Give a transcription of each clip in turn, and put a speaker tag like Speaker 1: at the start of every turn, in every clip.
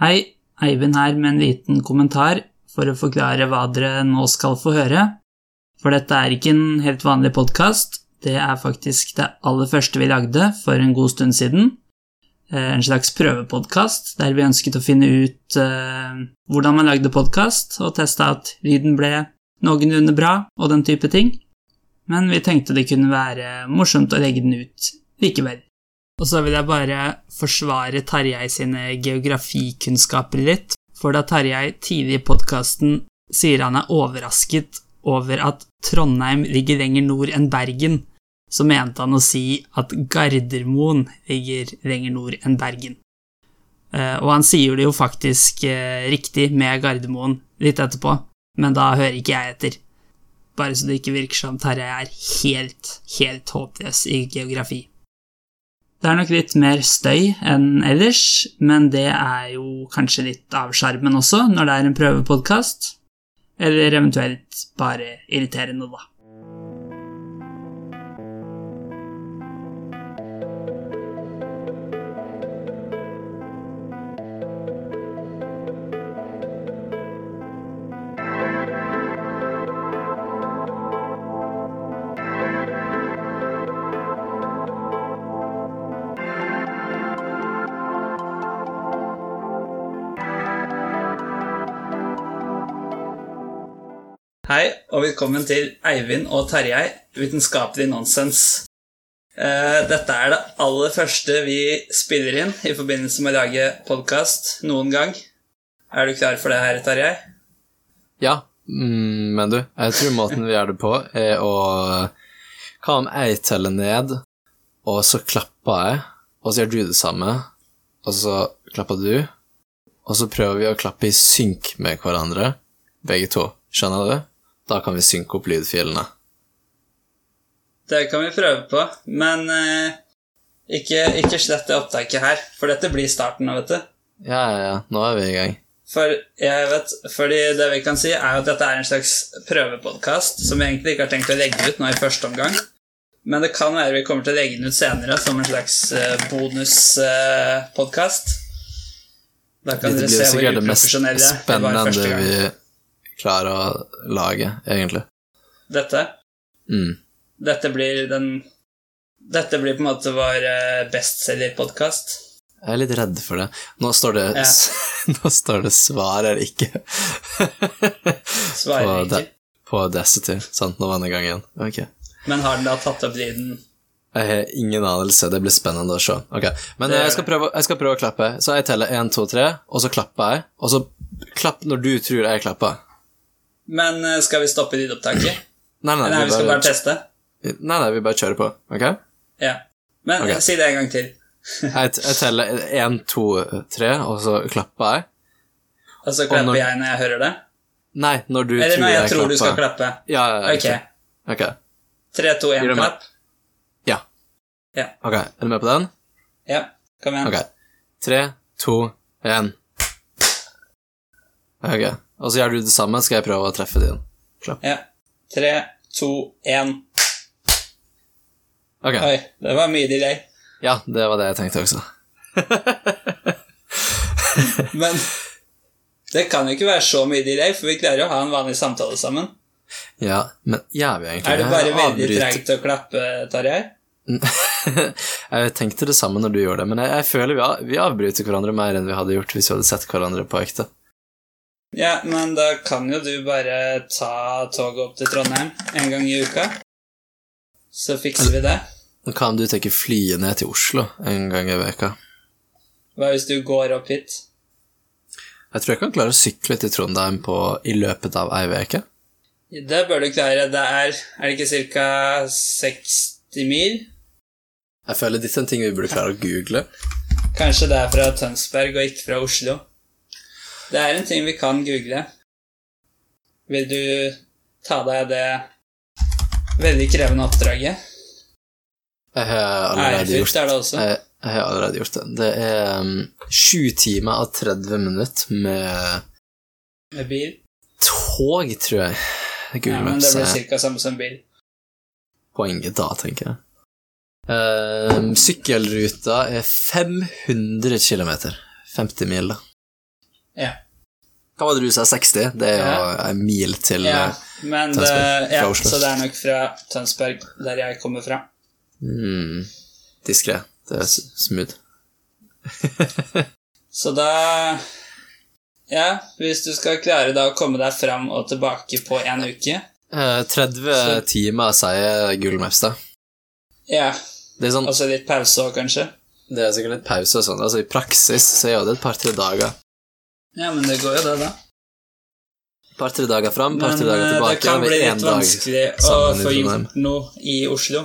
Speaker 1: Hei, Eivind her med en liten kommentar for å forklare hva dere nå skal få høre. For dette er ikke en helt vanlig podkast, det er faktisk det aller første vi lagde for en god stund siden. Eh, En slags prøvepodkast der vi ønsket å finne ut eh, hvordan man lagde podkast, og testa at lyden ble noenlunde bra og den type ting. Men vi tenkte det kunne være morsomt å legge den ut likevel. Og så vil jeg bare forsvare Tarjei sine geografikunnskaper litt, for da Tarjei tidlig i podkasten sier han er overrasket over at Trondheim ligger lenger nord enn Bergen, så mente han å si at Gardermoen ligger lenger nord enn Bergen. Eh, Og han sier det jo faktisk eh, riktig med Gardermoen litt etterpå, men da hører ikke jeg etter. Bare så det ikke virker som Tarjei er helt, helt håpløs i geografi. Det er nok litt mer støy enn ellers, men det er jo kanskje litt av sjarmen også, når det er en prøvepodkast. Eller eventuelt bare irriterende, da. Hei, og velkommen til Eivind og Tarjei, Vitenskapelig nonsens. Eh, Dette er det aller første vi spiller inn i forbindelse med å lage podkast noen gang. Er du klar for det her, Tarjei?
Speaker 2: Ja, mm, men du, jeg tror måten vi gjør det på, er å Hva om jeg teller ned, og så klapper jeg, og så gjør du det samme, og så klapper du, og så prøver vi å klappe i synk med hverandre, begge to. Skjønner du? Da kan vi synke opp lydfilene.
Speaker 1: Det kan vi prøve på, men eh, ikke, ikke slett det opptaket her, for dette blir starten nå, vet du.
Speaker 2: Ja, ja, ja, nå er vi i gang.
Speaker 1: For jeg vet, fordi det vi kan si er jo at dette er en slags prøvepodkast som vi egentlig ikke har tenkt å legge ut nå i første omgang. Men det kan være vi kommer til å legge den ut senere som en slags eh, bonuspodkast. da kan
Speaker 2: Dette
Speaker 1: dere
Speaker 2: blir
Speaker 1: se
Speaker 2: jo
Speaker 1: hvor
Speaker 2: sikkert det mest
Speaker 1: uprofesjonelle vi var
Speaker 2: spennende
Speaker 1: første gang.
Speaker 2: vi klarer å lage, egentlig.
Speaker 1: Dette,
Speaker 2: Mm.
Speaker 1: dette blir den Dette blir på en måte vår eh, bestselgerpodkast.
Speaker 2: Jeg er litt redd for det. Nå står det,
Speaker 1: Ja.
Speaker 2: nå står det 'svarer ikke' på,
Speaker 1: Svarer
Speaker 2: da-
Speaker 1: ikke.
Speaker 2: på Audacity. Sant, nå var den i gang igjen. Ok.
Speaker 1: Men har den da tatt opp lyden?
Speaker 2: Jeg har ingen anelse. Det blir spennende å se. Ok, Men
Speaker 1: Det
Speaker 2: eh,
Speaker 1: gjør
Speaker 2: jeg skal, prøve, jeg skal prøve å klappe. Så jeg teller én, to, tre, og så klapper jeg. Og så klapp når du tror jeg klapper.
Speaker 1: Men eh, skal vi stoppe lydopptaket?
Speaker 2: Nei, nei,
Speaker 1: Nei, vi skal bare
Speaker 2: bare,
Speaker 1: teste.
Speaker 2: nei, nei vi bare kjører på. Ok?
Speaker 1: Ja. Men
Speaker 2: Ok.
Speaker 1: si det en gang til.
Speaker 2: Jeg, t- jeg teller én, to, tre, og så klapper jeg.
Speaker 1: Og så klapper
Speaker 2: Og når-
Speaker 1: jeg når jeg hører det?
Speaker 2: Nei, når du
Speaker 1: Eller
Speaker 2: tror
Speaker 1: når
Speaker 2: jeg,
Speaker 1: jeg tror
Speaker 2: klapper.
Speaker 1: du skal klappe?
Speaker 2: Ja, ja, ja,
Speaker 1: Ok.
Speaker 2: riktig. Ok.
Speaker 1: Tre, to,
Speaker 2: Gir
Speaker 1: én,
Speaker 2: du meg?
Speaker 1: klapp.
Speaker 2: Ja.
Speaker 1: Ja.
Speaker 2: Ok, er du med på den?
Speaker 1: Ja, kom igjen.
Speaker 2: Ok. Tre, to, én. Ok, og så gjør du det samme, skal jeg prøve å treffe din.
Speaker 1: Ja. Tre, to, én.
Speaker 2: Ok,
Speaker 1: Oi, det var mye delay.
Speaker 2: ja, det var det jeg tenkte også.
Speaker 1: Men det kan jo ikke være så mye delay, for vi klarer jo å ha en vanlig samtale sammen.
Speaker 2: Ja, men gjør vi egentlig
Speaker 1: Er det bare
Speaker 2: Jeg
Speaker 1: veldig
Speaker 2: avbryter-
Speaker 1: treigt å klappe, Tarjei?
Speaker 2: jeg tenkte det samme når du gjorde det, men jeg, jeg føler vi, av, vi avbryter hverandre mer enn vi hadde gjort hvis vi hadde sett hverandre på ekte.
Speaker 1: Ja, men da kan jo du bare ta toget opp til Trondheim en gang i uka. Så fikser vi det.
Speaker 2: Men Hva om du tenker flyet ned til Oslo en gang i veka?
Speaker 1: Hva hvis du går opp hit?
Speaker 2: Jeg tror jeg kan klare å sykle til Trondheim på, i løpet av ei veke.
Speaker 1: Det bør du klare. Det er Er det ikke ca. 60 mil?
Speaker 2: Jeg føler dette er en ting vi burde klare å google.
Speaker 1: Kanskje det er fra Tønsberg og ikke fra Oslo. Det er en ting vi kan google. Vil du ta deg det veldig krevende oppdraget?
Speaker 2: Jeg har allerede gjort
Speaker 1: Ærefullt er det også.
Speaker 2: jeg, jeg har allerede gjort det. Det er um, sju timer av 30 minutter med Eh,
Speaker 1: Med bil.
Speaker 2: tog, tror jeg.
Speaker 1: Ja,
Speaker 2: Google
Speaker 1: men det
Speaker 2: Maps er
Speaker 1: blir ca. samme som bil.
Speaker 2: poenget da, tenker jeg. Um, sykkelruta er 500 km. 50 mil, da.
Speaker 1: Ja.
Speaker 2: Hva var det du sa, 60? Det er jo
Speaker 1: Ja.
Speaker 2: en mil til
Speaker 1: Ja,
Speaker 2: eh,
Speaker 1: men
Speaker 2: Tønsberg,
Speaker 1: det, ja,
Speaker 2: fra Oslo.
Speaker 1: så det er nok fra Tønsberg, der jeg kommer fra.
Speaker 2: mm, Diskré. Det er s- smooth.
Speaker 1: Så da Ja, hvis du skal klare da å komme deg fram og tilbake på én uke
Speaker 2: Eh, 30 timer, sier Google Maps, da.
Speaker 1: Ja,
Speaker 2: Det er, sånn,
Speaker 1: og så litt pause òg, kanskje.
Speaker 2: det er sikkert litt pause og sånn. Altså, I praksis så er jo det et par-tre dager.
Speaker 1: Ja, men det går jo det, da.
Speaker 2: Par-tre dager fram,
Speaker 1: Men
Speaker 2: par-tre
Speaker 1: eh,
Speaker 2: dager
Speaker 1: det
Speaker 2: tilbake.
Speaker 1: kan
Speaker 2: med
Speaker 1: bli
Speaker 2: en
Speaker 1: litt
Speaker 2: dag
Speaker 1: vanskelig å
Speaker 2: sammen i
Speaker 1: få
Speaker 2: Trondheim.
Speaker 1: gjort noe i Oslo.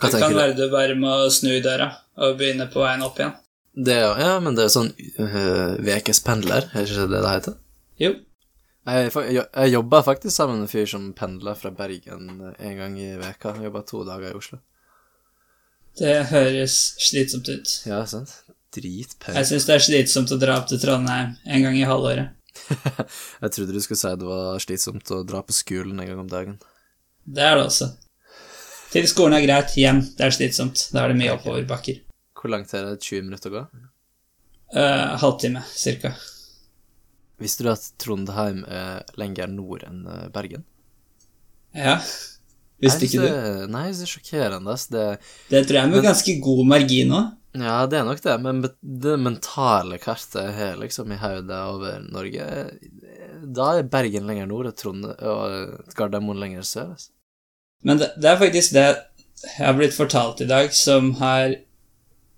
Speaker 2: Hva
Speaker 1: det kan
Speaker 2: tenker du?
Speaker 1: være du bare må snu i døra og begynne på veien opp igjen.
Speaker 2: Det er, jo- ja, men det er jo sånn øh, ukespendler, er ikke det det heter?
Speaker 1: Jo.
Speaker 2: Jeg, fa- jo- jeg jobba faktisk sammen med en fyr som pendla fra Bergen eh, en gang i veka. Han jobba to dager i Oslo.
Speaker 1: Det høres slitsomt ut.
Speaker 2: Ja, sant? Dritpause.
Speaker 1: Jeg syns det er slitsomt å dra opp til Trondheim en gang i halvåret.
Speaker 2: Jeg trodde du skulle si det var slitsomt å dra på skolen en gang om dagen.
Speaker 1: Det er det også. Til skolen er greit, hjem det er slitsomt. Da er det mye oppoverbakker.
Speaker 2: Hvor langt er det? 20 minutter å gå?
Speaker 1: Eh, halvtime, cirka.
Speaker 2: Visste du at Trondheim er lenger nord enn eh, Bergen?
Speaker 1: Ja. Visste
Speaker 2: Er
Speaker 1: ikke du?
Speaker 2: Nei, det er sjokkerende. ass. Det,
Speaker 1: Det tror jeg med ganske god margin òg.
Speaker 2: ja, det er nok det, men bet- det mentale kartet jeg har liksom i hodet over Norge eh, Da er Bergen lenger nord og, Trond og Gardermoen lenger sør. altså. ass.
Speaker 1: Men det, det er faktisk det jeg har blitt fortalt i dag, som har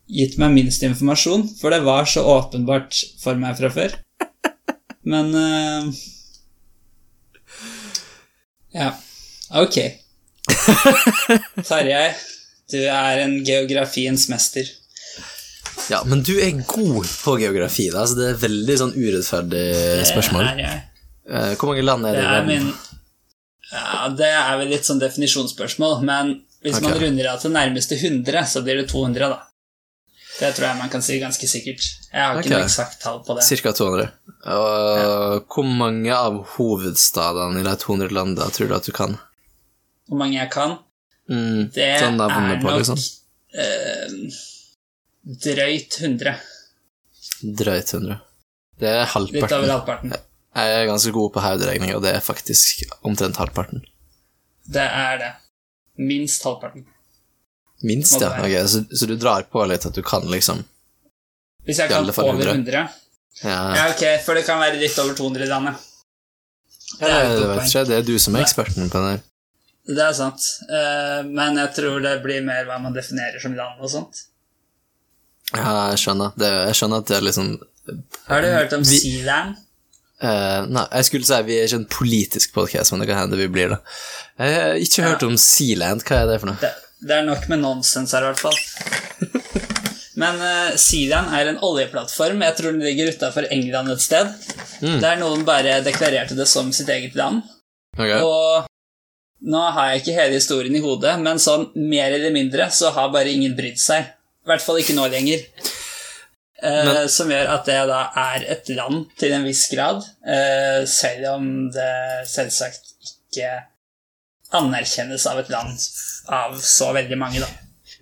Speaker 1: gitt meg minst informasjon. For det var så åpenbart for meg fra før. Men eh, Ja. Ok. Tarjei, du er en geografiens mester.
Speaker 2: Ja, men du er god på geografi, da, så det er veldig sånn urettferdig spørsmål.
Speaker 1: Det er jeg.
Speaker 2: Eh, Hvor mange land er det
Speaker 1: Det
Speaker 2: i
Speaker 1: er
Speaker 2: verden?
Speaker 1: min ja, Det er vel litt sånn definisjonsspørsmål, men hvis man
Speaker 2: Ok.
Speaker 1: runder av til nærmeste 100, så blir det 200, da. Det tror jeg man kan si ganske sikkert. Jeg har ikke
Speaker 2: Ok.
Speaker 1: noe eksakt tall på det.
Speaker 2: Cirka 200. Og hvor mange av hovedstadene i de 200 landene tror du at du kan?
Speaker 1: Hvor mange jeg kan.
Speaker 2: Mm,
Speaker 1: Det
Speaker 2: sånn navnet
Speaker 1: er
Speaker 2: på,
Speaker 1: nok
Speaker 2: liksom.
Speaker 1: eh, drøyt 100.
Speaker 2: Drøyt 100. Det er
Speaker 1: Litt over
Speaker 2: halvparten.
Speaker 1: halvparten.
Speaker 2: Jeg er ganske god på hoderegning, og det er faktisk omtrent halvparten.
Speaker 1: Det er det. Minst halvparten.
Speaker 2: Minst, ja.
Speaker 1: Måtte
Speaker 2: Ok, så, så du drar på litt at du kan, liksom.
Speaker 1: Hvis jeg
Speaker 2: I
Speaker 1: kan
Speaker 2: alle fall
Speaker 1: over
Speaker 2: 100.
Speaker 1: 100
Speaker 2: Ja,
Speaker 1: Ja, ok, for det kan være litt over 200 i landet.
Speaker 2: ja
Speaker 1: er et godt
Speaker 2: jeg vet
Speaker 1: poeng.
Speaker 2: ikke. Det er du som er eksperten på det her.
Speaker 1: Det er sant, Eh, men jeg tror det blir mer hva man definerer som land og sånt.
Speaker 2: Ja, jeg skjønner. Det, jeg skjønner at det er liksom
Speaker 1: Har du hørt om
Speaker 2: Vi-
Speaker 1: Sealand?
Speaker 2: eh, Nei, jeg skulle si vi er ikke en politisk podkast, men det kan hende vi blir det. Jeg har ikke hørt om Sealand. Hva er det for noe?
Speaker 1: Det, det er nok med nonsens her, i hvert fall. Men uh, Sealand er en oljeplattform. Jeg tror den ligger utafor England et sted. Der noen bare deklarerte det som sitt eget land.
Speaker 2: Ok.
Speaker 1: Og nå har jeg ikke hele historien i hodet, men sånn mer eller mindre så har bare ingen brydd seg. I hvert fall ikke nå lenger. Eh,
Speaker 2: Men-
Speaker 1: som gjør at det da er et land til en viss grad, eh, selv om det selvsagt ikke anerkjennes av et land av så veldig mange, da.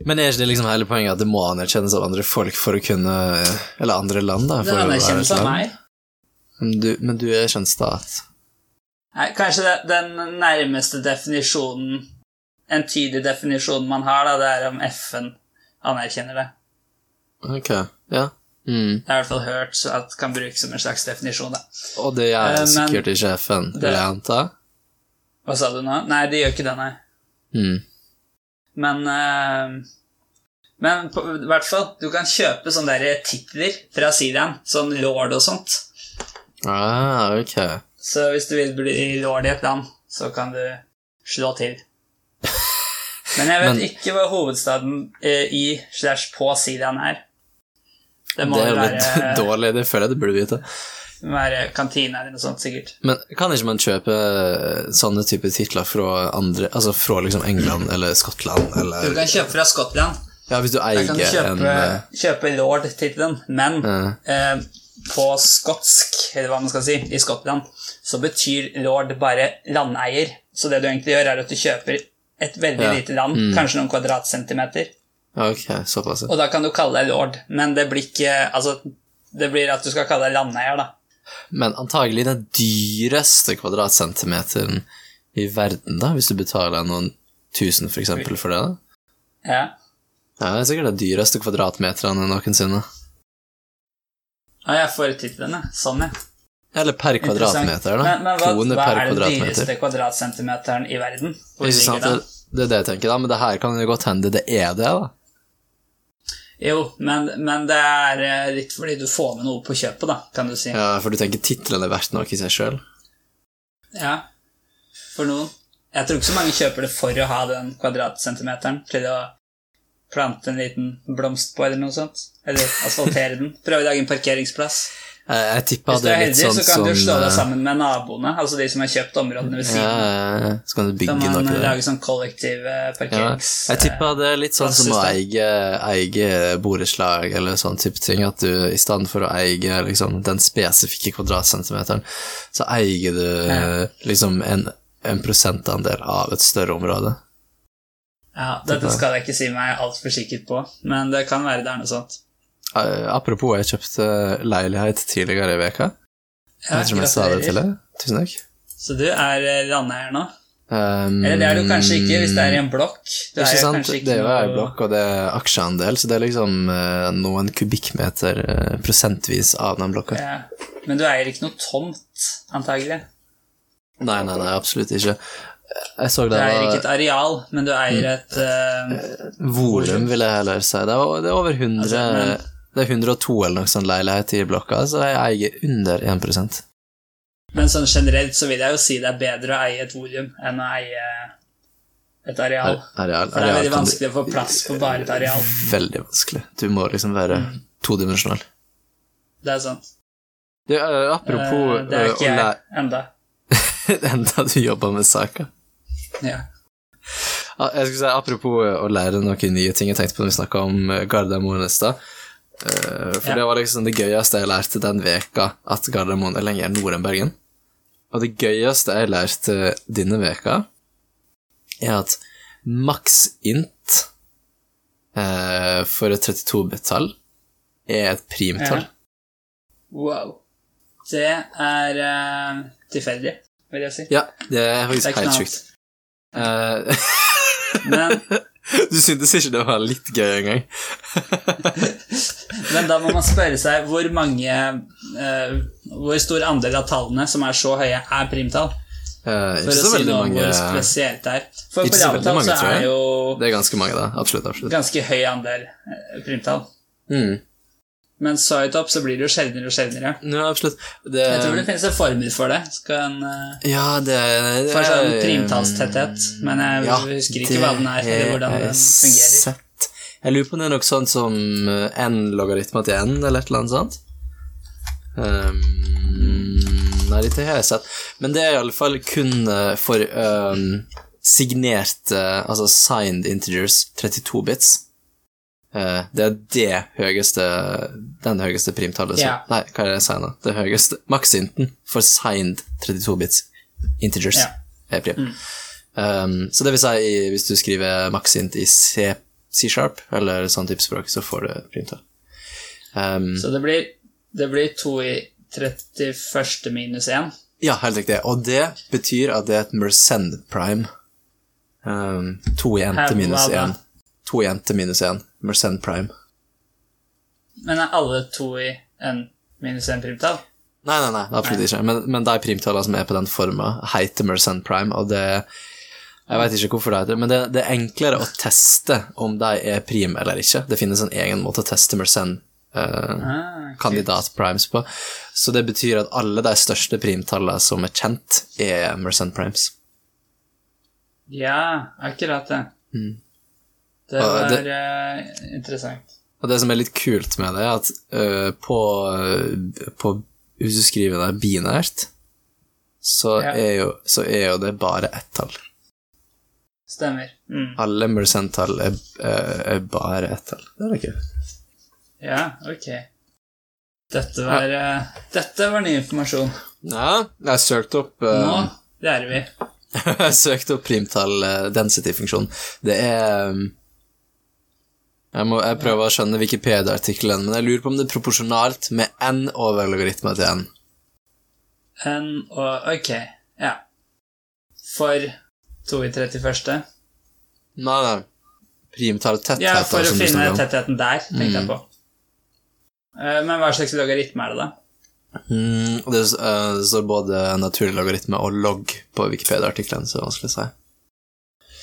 Speaker 2: Men er ikke det liksom hele poenget at det må anerkjennes av andre folk for å kunne eh, Eller andre land, da?
Speaker 1: Det
Speaker 2: For å være et
Speaker 1: anerkjennes av
Speaker 2: land?
Speaker 1: meg.
Speaker 2: Men du, men du er ikke en stat.
Speaker 1: Nei, kanskje det, den nærmeste definisjonen, en tydelig definisjon man har, da, det er om FN anerkjenner det.
Speaker 2: Ok, ja. Mm.
Speaker 1: Det har jeg i hvert fall hørt så at kan brukes som en slags definisjon. da.
Speaker 2: Og det gjør
Speaker 1: Eh, men-
Speaker 2: sikkert ikke FN, vil jeg anta.
Speaker 1: Hva sa du nå? Nei, de gjør ikke det, nei.
Speaker 2: Mm.
Speaker 1: Men eh, Men på, i hvert fall, du kan kjøpe sånne der titler fra Sidan, sånn lord og sånt.
Speaker 2: Ah, ok.
Speaker 1: Så hvis du vil bli lord i et land, så kan du slå til. Men jeg vet
Speaker 2: Men-
Speaker 1: ikke hva hovedstaden eh, i slash på Sidan er. Det
Speaker 2: Det,
Speaker 1: må
Speaker 2: er
Speaker 1: vel
Speaker 2: jo litt
Speaker 1: være,
Speaker 2: dårlig, det føler jeg du burde vite.
Speaker 1: være kantina eller noe sånt, sikkert.
Speaker 2: Men kan ikke man kjøpe eh, sånne type titler fra andre Altså fra liksom England eller Skottland
Speaker 1: Du
Speaker 2: eller
Speaker 1: kan kjøpe fra Skottland.
Speaker 2: Ja, hvis du
Speaker 1: Jeg
Speaker 2: eier
Speaker 1: kan Liksom kjøpe,
Speaker 2: en eh,
Speaker 1: kjøpe lord-tittelen, men
Speaker 2: Ja.
Speaker 1: eh, på skotsk, eller hva man skal si, i Skottland, så betyr lord bare landeier. Så det du egentlig gjør, er at du kjøper et veldig
Speaker 2: Ja. Mm.
Speaker 1: lite land, kanskje noen kvadratcentimeter,
Speaker 2: eh, Ok, såpass. ja.
Speaker 1: og da kan du kalle deg lord, men det blir ikke Altså, Det blir at du skal kalle deg landeier, da.
Speaker 2: Men antagelig den dyreste kvadratcentimeteren i verden, da, hvis du betaler noen tusen for eksempel for det. da.
Speaker 1: Ja.
Speaker 2: Ja, det er sikkert de dyreste kvadratmeterne noensinne.
Speaker 1: Å, jeg får ut tittelen, jeg. Sånn, ja.
Speaker 2: Eller per kvadratmeter, da.
Speaker 1: Men, men hva,
Speaker 2: Krone
Speaker 1: hva
Speaker 2: per
Speaker 1: er den
Speaker 2: kvadratmeter.
Speaker 1: dyreste kvadratcentimeteren i verden? Hvor
Speaker 2: Ikke sant?
Speaker 1: ligger den?
Speaker 2: Det, det er det jeg tenker, da. Men det her kan jo godt hende det er det, da.
Speaker 1: Jo, men, men det er eh, litt fordi du får med noe på kjøpet, da, kan du si. Ja.
Speaker 2: Ja, For du tenker tittelen er verdt noe i seg sjøl?
Speaker 1: For noen. Jeg tror ikke så mange kjøper det for å ha den kvadratcentimeteren. Til å plante en liten blomst på, eller noe sånt. Eller asfaltere den. Prøve å lage en parkeringsplass.
Speaker 2: Jeg, jeg tippa
Speaker 1: Hvis du
Speaker 2: det
Speaker 1: er
Speaker 2: er litt
Speaker 1: heldig,
Speaker 2: sånn
Speaker 1: så kan
Speaker 2: som
Speaker 1: du slå deg
Speaker 2: eh,
Speaker 1: sammen med naboene, altså de som har kjøpt områdene ved
Speaker 2: Ja,
Speaker 1: siden.
Speaker 2: ja, ja. så kan du
Speaker 1: Så
Speaker 2: bygge
Speaker 1: man
Speaker 2: noe
Speaker 1: eh,
Speaker 2: der.
Speaker 1: lager sånn kollektiv eh,
Speaker 2: Ja,
Speaker 1: parkerings...
Speaker 2: jeg tipper det er litt sånn som å eie, eie borettslag eller sånn type ting, at du i stedet for å eie liksom, den spesifikke kvadratcentimeteren, så eier du
Speaker 1: Ja.
Speaker 2: liksom en, en prosentandel av et større område.
Speaker 1: Ja, dette skal jeg ikke si meg altfor sikkert på, men det kan være det er noe sånt.
Speaker 2: Eh, Apropos, jeg kjøpte eh, leilighet tidligere i veka.
Speaker 1: Ja,
Speaker 2: Jeg tror jeg sa det
Speaker 1: gratulerer.
Speaker 2: til deg. Tusen takk.
Speaker 1: Så du er eh, landeier nå?
Speaker 2: Um,
Speaker 1: Eller det er du kanskje ikke hvis det er i en blokk. Du
Speaker 2: Ikke
Speaker 1: jo
Speaker 2: sant?
Speaker 1: kanskje
Speaker 2: Det er jo
Speaker 1: noe-
Speaker 2: ei blokk, og det er aksjeandel, så det er liksom eh, noen kubikkmeter eh, prosentvis av den blokka.
Speaker 1: Ja. Men du eier ikke noe tomt, antagelig.
Speaker 2: Nei, nei, nei, absolutt ikke. Jeg så
Speaker 1: Du
Speaker 2: det
Speaker 1: eier ikke
Speaker 2: var Mm.
Speaker 1: et areal, men du eier et eh,
Speaker 2: volum, vil jeg heller si. Det er, det er over 100
Speaker 1: Altså, men-
Speaker 2: Det er 102 eller noe sånn leilighet i blokka, så jeg eier under 1
Speaker 1: Men sånn generelt så vil jeg jo si det er bedre å eie et volum enn å eie et areal.
Speaker 2: areal.
Speaker 1: For det er
Speaker 2: areal
Speaker 1: veldig
Speaker 2: kan
Speaker 1: vanskelig å få plass på bare et areal. Mm.
Speaker 2: Veldig vanskelig. Du må liksom være todimensjonal.
Speaker 1: Det er sant.
Speaker 2: Du, eh,
Speaker 1: Eh,
Speaker 2: apropos
Speaker 1: det er
Speaker 2: eh,
Speaker 1: ikke
Speaker 2: å
Speaker 1: jeg enda.
Speaker 2: lære Enda du jobber med saker.
Speaker 1: Ja.
Speaker 2: Ja, Jeg skulle si, Apropos eh, å lære noen nye ting jeg tenkte på når vi snakka om eh, Gardermoen i stad. Eh, For
Speaker 1: Ja.
Speaker 2: det var liksom det gøyeste jeg lærte den veka at Gardermoen er lenger nord enn Bergen. Og det gøyeste jeg lærte denne veka er at maks int eh, for et 32-bit-tall er et primtall.
Speaker 1: Ja. Wow. Det er eh, tilfeldig, vil jeg si.
Speaker 2: Ja, det
Speaker 1: Det
Speaker 2: er
Speaker 1: er
Speaker 2: faktisk
Speaker 1: ikke
Speaker 2: helt
Speaker 1: noe
Speaker 2: sjukt.
Speaker 1: annet.
Speaker 2: Eh,
Speaker 1: Men,
Speaker 2: du syntes ikke det var litt gøy engang?
Speaker 1: men da må man spørre seg hvor mange eh, Hvor stor andel av tallene som er så høye, er primtall? For
Speaker 2: Uh,
Speaker 1: å
Speaker 2: ikke så
Speaker 1: si
Speaker 2: veldig
Speaker 1: noe om
Speaker 2: mange
Speaker 1: hvor spesielt det er. For
Speaker 2: Ikke
Speaker 1: på
Speaker 2: så veldig
Speaker 1: realtall
Speaker 2: mange,
Speaker 1: så
Speaker 2: tror jeg.
Speaker 1: er jo
Speaker 2: Det er ganske mange, da. Absolutt. absolutt.
Speaker 1: ganske høy andel eh, primtall.
Speaker 2: Mm.
Speaker 1: Men så høyt opp så blir det jo sjeldnere og sjeldnere.
Speaker 2: Ja, absolutt. Det,
Speaker 1: Jeg tror det finnes en formel for det. Skal en, eh,
Speaker 2: Ja, det det
Speaker 1: for sånn
Speaker 2: er-
Speaker 1: primtallstetthet, men jeg
Speaker 2: Ja,
Speaker 1: husker ikke hva den er, eller hvordan
Speaker 2: det er
Speaker 1: den fungerer.
Speaker 2: Sett. Jeg lurer på om det er noe sånt som eh, n logaritma til n, eller et eller annet sånt. Ehm, nei, dette har jeg sett. Men det er iallfall kun eh, for ehm, signerte, altså signed integers, 32 bits. Eh, det er det høyeste Den høyeste primtallet som
Speaker 1: Ja.
Speaker 2: Nei, hva er det jeg sier nå? Det høyeste maksinten for signed 32 bits integers
Speaker 1: Ja. Mm.
Speaker 2: er prim. Um, så det vil si, i- hvis du skriver maxint i C, C sharp, eller sånn type språk, så får du et primtall. Um,
Speaker 1: Så det blir, det blir 2 i 31. minus 1.
Speaker 2: ja, helt riktig. Og det betyr at det er et Mercend prime. Um, to i n til minus
Speaker 1: Hva da?
Speaker 2: én. To i n til minus én. Mercend prime.
Speaker 1: Men er alle 2 i 1 minus 1 primtall?
Speaker 2: Nei, nei, nei, absolutt ikke. Men, men de primtallene som er på den forma, heter Mercend Prime, og det Jeg veit ikke hvorfor det heter det, men det, det er enklere å teste om de er prim eller ikke. Det finnes en egen måte å teste Mercend eh,
Speaker 1: Ah,
Speaker 2: kandidat primes på. Så det betyr at alle de største primtallene som er kjent, er Mercend primes.
Speaker 1: Ja, akkurat det. Det
Speaker 2: Mm. Ja,
Speaker 1: var
Speaker 2: det-
Speaker 1: eh, interessant.
Speaker 2: Og det som er litt kult med det, er at øh, på, øh, på Hvis du skriver det binært, så,
Speaker 1: Ja.
Speaker 2: er jo, så er jo det bare ett tall.
Speaker 1: Stemmer. Mm.
Speaker 2: Alle Mercent-tall er, er, er bare ett tall. Det er det ikke.
Speaker 1: Ja, ok. Dette var, eh, dette var ny informasjon.
Speaker 2: Ja, jeg søkte opp,
Speaker 1: Nå
Speaker 2: eh,
Speaker 1: lærer vi.
Speaker 2: øh, jeg søkte opp primtall eh, density-funksjon. Det er um, øh, Jeg, må, jeg prøver å skjønne Wikipedia-artikkelen, men jeg lurer på om det er proporsjonalt med n over logaritma til n.
Speaker 1: N og Ok, ja. For 2 i 31.
Speaker 2: Nei, nei. Primtall tetthet,
Speaker 1: Ja, for å
Speaker 2: som du
Speaker 1: finne
Speaker 2: snakker om.
Speaker 1: tettheten der,
Speaker 2: Mm.
Speaker 1: tenkte jeg på. Eh, Men hva slags logaritme er det, da?
Speaker 2: Mm, og det, s- eh, det står både naturlig logaritme og log på Wikipedia-artikkelen, så det er vanskelig å si.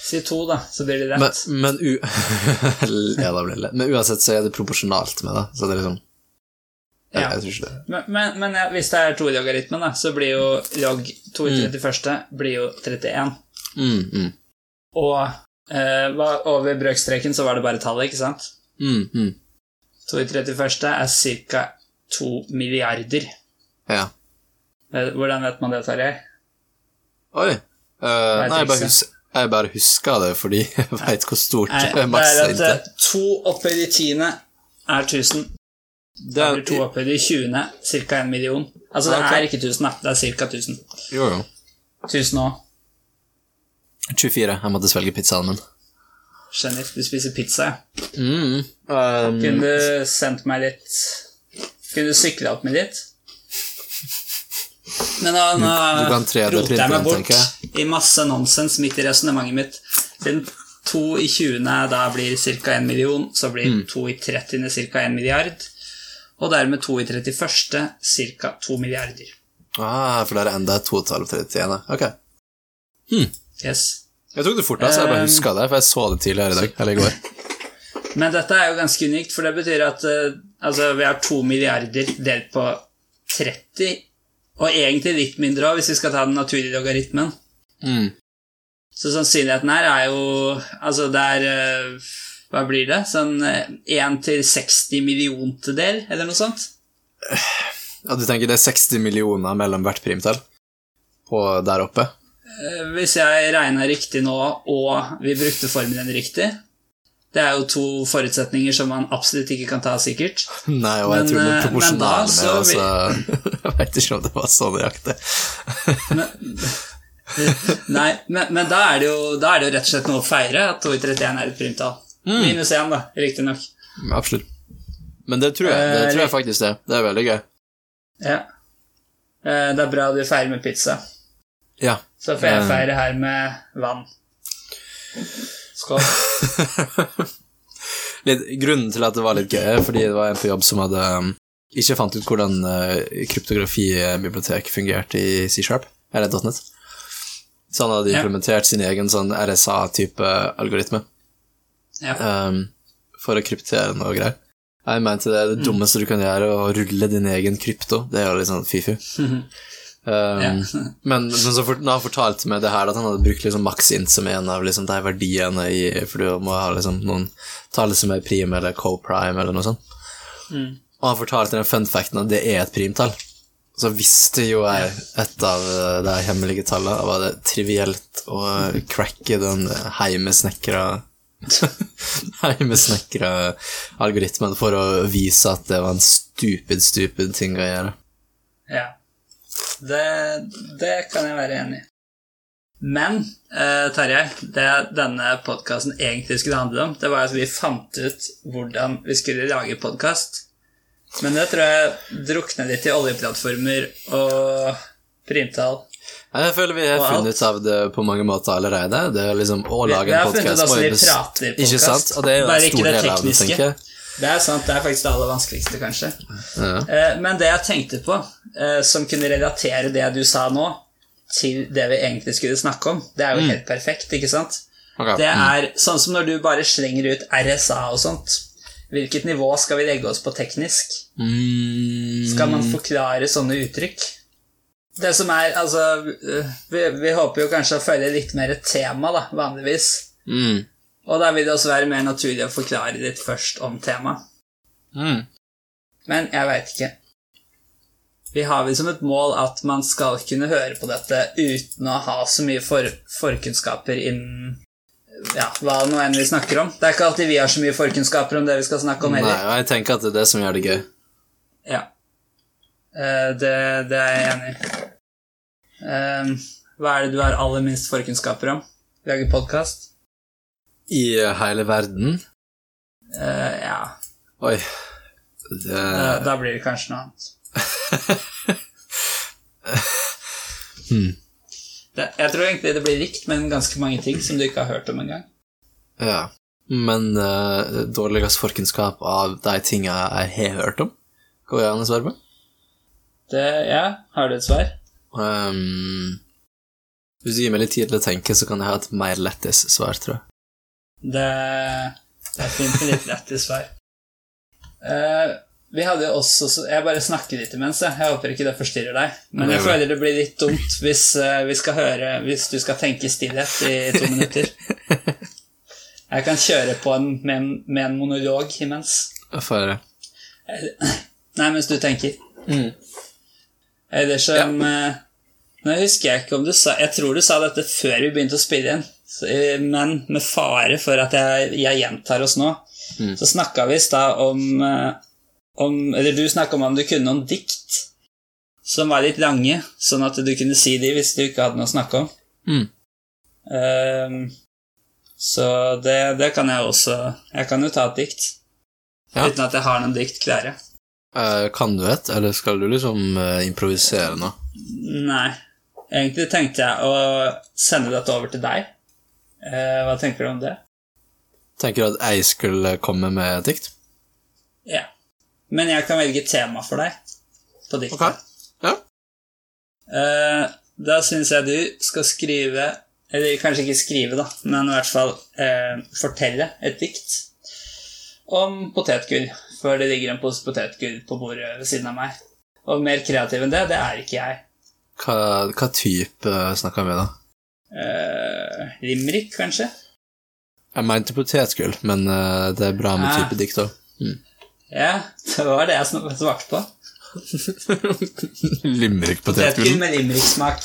Speaker 1: Si to, da, så blir det rett.
Speaker 2: Men, men, u ja, da blir det lett. men uansett så er det proporsjonalt med det, så det er liksom Jeg,
Speaker 1: Ja.
Speaker 2: jeg tror ikke det.
Speaker 1: Men, men, men ja, hvis det er to i logaritmen, da, så blir jo log 2 i 31 blir jo 31.
Speaker 2: Mm, mm,
Speaker 1: Og eh, hva- over brøkstreken så var det bare tallet, ikke sant?
Speaker 2: mm, mm.
Speaker 1: 2 i 31 er ca. 2 milliarder.
Speaker 2: Ja.
Speaker 1: Eh, Hvordan vet man det, Tarjei?
Speaker 2: Oi. eh,
Speaker 1: er
Speaker 2: nei, jeg bare,
Speaker 1: trikset.
Speaker 2: hus jeg bare husker det fordi jeg veit hvor stort
Speaker 1: Nei, det
Speaker 2: maks
Speaker 1: er at
Speaker 2: er.
Speaker 1: eh, to opphøyd i tiende er 1000.
Speaker 2: Det
Speaker 1: Det
Speaker 2: er
Speaker 1: blir to opphøyd i 20. ca. 1 million. Altså, det
Speaker 2: Ja, ok.
Speaker 1: er ikke 1000, da. Det er ca. 1000.
Speaker 2: Jo, jo.
Speaker 1: 1000 òg.
Speaker 2: 24. Jeg måtte svelge pizzaen min.
Speaker 1: Skjønner. Du spiser pizza, ja.
Speaker 2: Mm. Um,
Speaker 1: Kunne du sendt meg litt Kunne du sykla opp meg litt? Men nå, nå
Speaker 2: Du kan 3D
Speaker 1: roter jeg
Speaker 2: printe den,
Speaker 1: meg
Speaker 2: tenker
Speaker 1: bort i masse nonsens midt i resonnementet mitt. Siden 2 i 20. da blir ca. 1 million, så blir
Speaker 2: Mm.
Speaker 1: 2 i 30. ca. 1 milliard. Og dermed 2 i 31. ca. 2 milliarder.
Speaker 2: ah, for der er enda et totall på 31. ja. Ok.
Speaker 1: Yes.
Speaker 2: Jeg tok det fort, altså. Jeg bare
Speaker 1: Um,
Speaker 2: huska det, for jeg så det tidligere i dag. Eller i går.
Speaker 1: Men dette er jo ganske unikt, for det betyr at eh, altså, vi har to milliarder delt på 30, og egentlig litt mindre òg, hvis vi skal ta den naturlige logaritmen.
Speaker 2: Mm.
Speaker 1: Så sannsynligheten her er jo Altså, det er eh, Hva blir det? Sånn eh, 1 til 60 milliontedel, eller noe sånt?
Speaker 2: Ja, du tenker det er 60 millioner mellom hvert primtall på der oppe?
Speaker 1: Eh, Hvis jeg regna riktig nå, og vi brukte formelen riktig Det er jo to forutsetninger som man absolutt ikke kan ta sikkert.
Speaker 2: Nei, og jeg
Speaker 1: Men,
Speaker 2: tror det er
Speaker 1: eh, men da
Speaker 2: proporsjonale med
Speaker 1: så
Speaker 2: det, altså. Jeg veit ikke om det var så nøyaktig.
Speaker 1: Nei, men, men da, er det jo, da er det jo rett og slett noe å feire at 2 i 31 er et primtall. Minus 1, da, riktignok.
Speaker 2: Absolutt. Men det tror jeg, det
Speaker 1: Eh,
Speaker 2: tror jeg faktisk det. Det er veldig gøy.
Speaker 1: Ja. Eh, Det er bra du feirer med pizza.
Speaker 2: Ja.
Speaker 1: Så får jeg
Speaker 2: Eh.
Speaker 1: feire her med vann. Skål.
Speaker 2: Litt, grunnen til at det var litt gøy, er fordi det var en på jobb som hadde um, ikke fant ut hvordan uh, kryptografibibliotek fungerte i C-sharp, eller .net. Så han hadde
Speaker 1: Ja.
Speaker 2: implementert sin egen sånn RSA-type algoritme
Speaker 1: Ja.
Speaker 2: um, for å kryptere noe greier. Jeg mente det er
Speaker 1: Mm.
Speaker 2: det dummeste du kan gjøre, å rulle din egen krypto. Det er jo litt sånn fifi. Um, Men, men så fort, når han fortalte meg det her, at han hadde brukt liksom maxint som en av liksom, de verdiene i For du må ha liksom, noen tall som er prim eller co-prime eller noe sånt.
Speaker 1: Mm.
Speaker 2: Og han fortalte den fun facten at det er et primtall. Så visste jo jeg et av eh, de hemmelige tallene. Da var det trivielt å cracke den heimesnekra Heimesnekra algoritmen for å vise at det var en stupid, stupid ting å gjøre.
Speaker 1: ja. Det, det kan jeg være enig i. Men eh, Tarjei, det denne podkasten egentlig skulle handle om, det var at vi fant ut hvordan vi skulle lage podkast. Men det tror jeg drukner litt i oljeplattformer og primtall.
Speaker 2: Jeg føler vi har
Speaker 1: Og
Speaker 2: funnet ut av det på mange måter allerede. Det er liksom å
Speaker 1: Vi, vi
Speaker 2: lage
Speaker 1: har
Speaker 2: en
Speaker 1: funnet ut
Speaker 2: podkast
Speaker 1: hvordan vi prater
Speaker 2: Ikke sant?
Speaker 1: podkast.
Speaker 2: Og det er jo en
Speaker 1: Bare ikke
Speaker 2: stor
Speaker 1: det
Speaker 2: del av det,
Speaker 1: tekniske.
Speaker 2: tenker jeg.
Speaker 1: Det er sant, det er faktisk det aller vanskeligste, kanskje.
Speaker 2: Ja.
Speaker 1: Eh, Men det jeg tenkte på, eh, som kunne relatere det du sa nå, til det vi egentlig skulle snakke om, det
Speaker 2: Mm.
Speaker 1: er jo helt perfekt, ikke sant?
Speaker 2: Ok.
Speaker 1: Det er sånn som når du bare slenger ut RSA og sånt. Hvilket nivå skal vi legge oss på teknisk?
Speaker 2: Mm.
Speaker 1: Skal man forklare sånne uttrykk? Det som er, altså eh, Vi, vi håper jo kanskje å følge litt mer et tema, da, vanligvis.
Speaker 2: Mm.
Speaker 1: Og da vil det også være mer naturlig å forklare litt først om temaet.
Speaker 2: Mm.
Speaker 1: Men jeg veit ikke. Vi har vel som et mål at man skal kunne høre på dette uten å ha så mye for forkunnskaper innen ja, hva nå enn vi snakker om. Det er ikke alltid vi har så mye forkunnskaper om det vi skal snakke om
Speaker 2: Nei,
Speaker 1: heller.
Speaker 2: og jeg tenker at det er det som gjør det gøy.
Speaker 1: Ja. Eh, det, det er jeg enig i. Eh, hva er det du har aller minst forkunnskaper om? Lage podkast?
Speaker 2: I hele eh, verden
Speaker 1: Eh, ja,
Speaker 2: Oi. Det
Speaker 1: da, Eh, da blir det kanskje noe annet. Hmm. Det, jeg tror egentlig det blir rikt, men ganske mange ting som du ikke har hørt om engang.
Speaker 2: Ja. Men eh, dårligst forkunnskap av de tinga jeg har hørt om, går det an å svare på?
Speaker 1: Det, ja, har du et svar?
Speaker 2: Ehm, hvis du gir meg litt tid til å tenke, så kan jeg ha et mer lettis svar, tror jeg.
Speaker 1: Det, det er fint med litt lættis svar. Eh, vi hadde jo også så- Jeg bare snakker litt imens, jeg. Jeg håper ikke det forstyrrer deg. Men
Speaker 2: Nei,
Speaker 1: jeg
Speaker 2: nei.
Speaker 1: føler det blir litt dumt hvis, eh, vi skal høre, hvis du skal tenke i stillhet i to minutter. Jeg kan kjøre på en, med, en, med en monolog imens.
Speaker 2: Jeg får høre.
Speaker 1: Nei, mens du tenker.
Speaker 2: Mm.
Speaker 1: Eller som eh, Nå husker jeg ikke om du sa Jeg tror du sa dette før vi begynte å spille inn, så, eh, men med fare for at jeg, jeg gjentar oss nå,
Speaker 2: Mm.
Speaker 1: så snakka vi i stad om, eh, om Eller du snakka om om du kunne noen dikt som var litt lange, sånn at du kunne si de hvis du ikke hadde noe å snakke om.
Speaker 2: Mm.
Speaker 1: Ehm, så det, det kan jeg også Jeg kan jo ta et dikt.
Speaker 2: Ja.
Speaker 1: Uten at jeg har noen dikt klare.
Speaker 2: Eh, kan du et, eller skal du liksom eh, improvisere nå?
Speaker 1: Nei. Egentlig tenkte jeg å sende dette over til deg. Eh, hva tenker du om det?
Speaker 2: Tenker du at jeg skulle komme med et dikt?
Speaker 1: Ja. Men jeg kan velge tema for deg på diktet.
Speaker 2: Ja.
Speaker 1: Eh, da syns jeg du skal skrive Eller kanskje ikke skrive, da, men i hvert fall eh, fortelle et dikt om potetgull. For det ligger en pose potetgull på bordet ved siden av meg. Og mer kreativ enn det, det er ikke jeg.
Speaker 2: Hva, hva type snakker vi da?
Speaker 1: Eh, Limrik, kanskje?
Speaker 2: Jeg mente potetgull, men eh, det er bra med
Speaker 1: Ah.
Speaker 2: type dikt òg.
Speaker 1: Ja, det var det jeg sn- svarte på. Potetgull
Speaker 2: Limerick-potetgull.
Speaker 1: med limericksmak.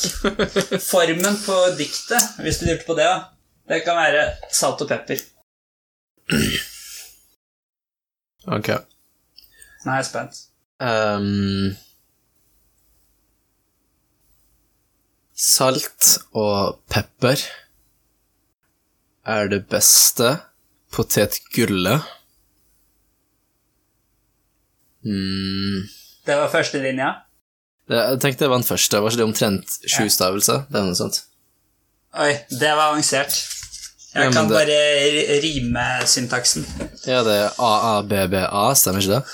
Speaker 1: Formen på diktet, hvis du lurte på det, da. Det kan være salt og pepper.
Speaker 2: Ok.
Speaker 1: Nå er jeg spent.
Speaker 2: Ehm, salt og pepper er det beste potetgullet. Mm.
Speaker 1: Det var første linja.
Speaker 2: Det, jeg tenkte jeg vant først. Det var ikke det omtrent sju stavelser? Det er noe sånt.
Speaker 1: Oi, det var avansert.
Speaker 2: Ja,
Speaker 1: Jeg
Speaker 2: men
Speaker 1: kan
Speaker 2: det-
Speaker 1: bare r- rime syntaksen.
Speaker 2: Ja, det er AABBA, stemmer ikke det?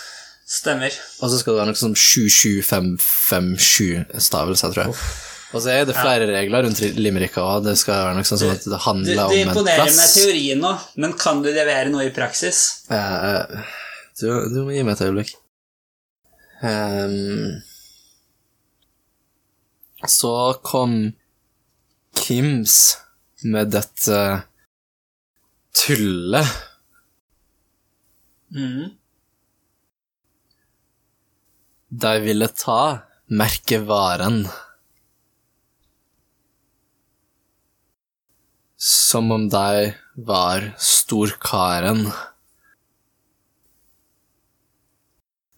Speaker 1: Stemmer.
Speaker 2: Og så skal det være noe sånn 77557 stavelser, tror jeg. Og så er det flere regler rundt Limerick òg. Det skal være noe sånn som at det
Speaker 1: Du,
Speaker 2: handler
Speaker 1: du
Speaker 2: om en
Speaker 1: imponerer
Speaker 2: plass.
Speaker 1: med teorien nå, men kan du levere noe i praksis?
Speaker 2: Eh, du, du må gi meg et øyeblikk. Ehm, så kom Kims med dette tullet.
Speaker 1: Mhm.
Speaker 2: De ville ta merkevaren. Som om de var storkaren.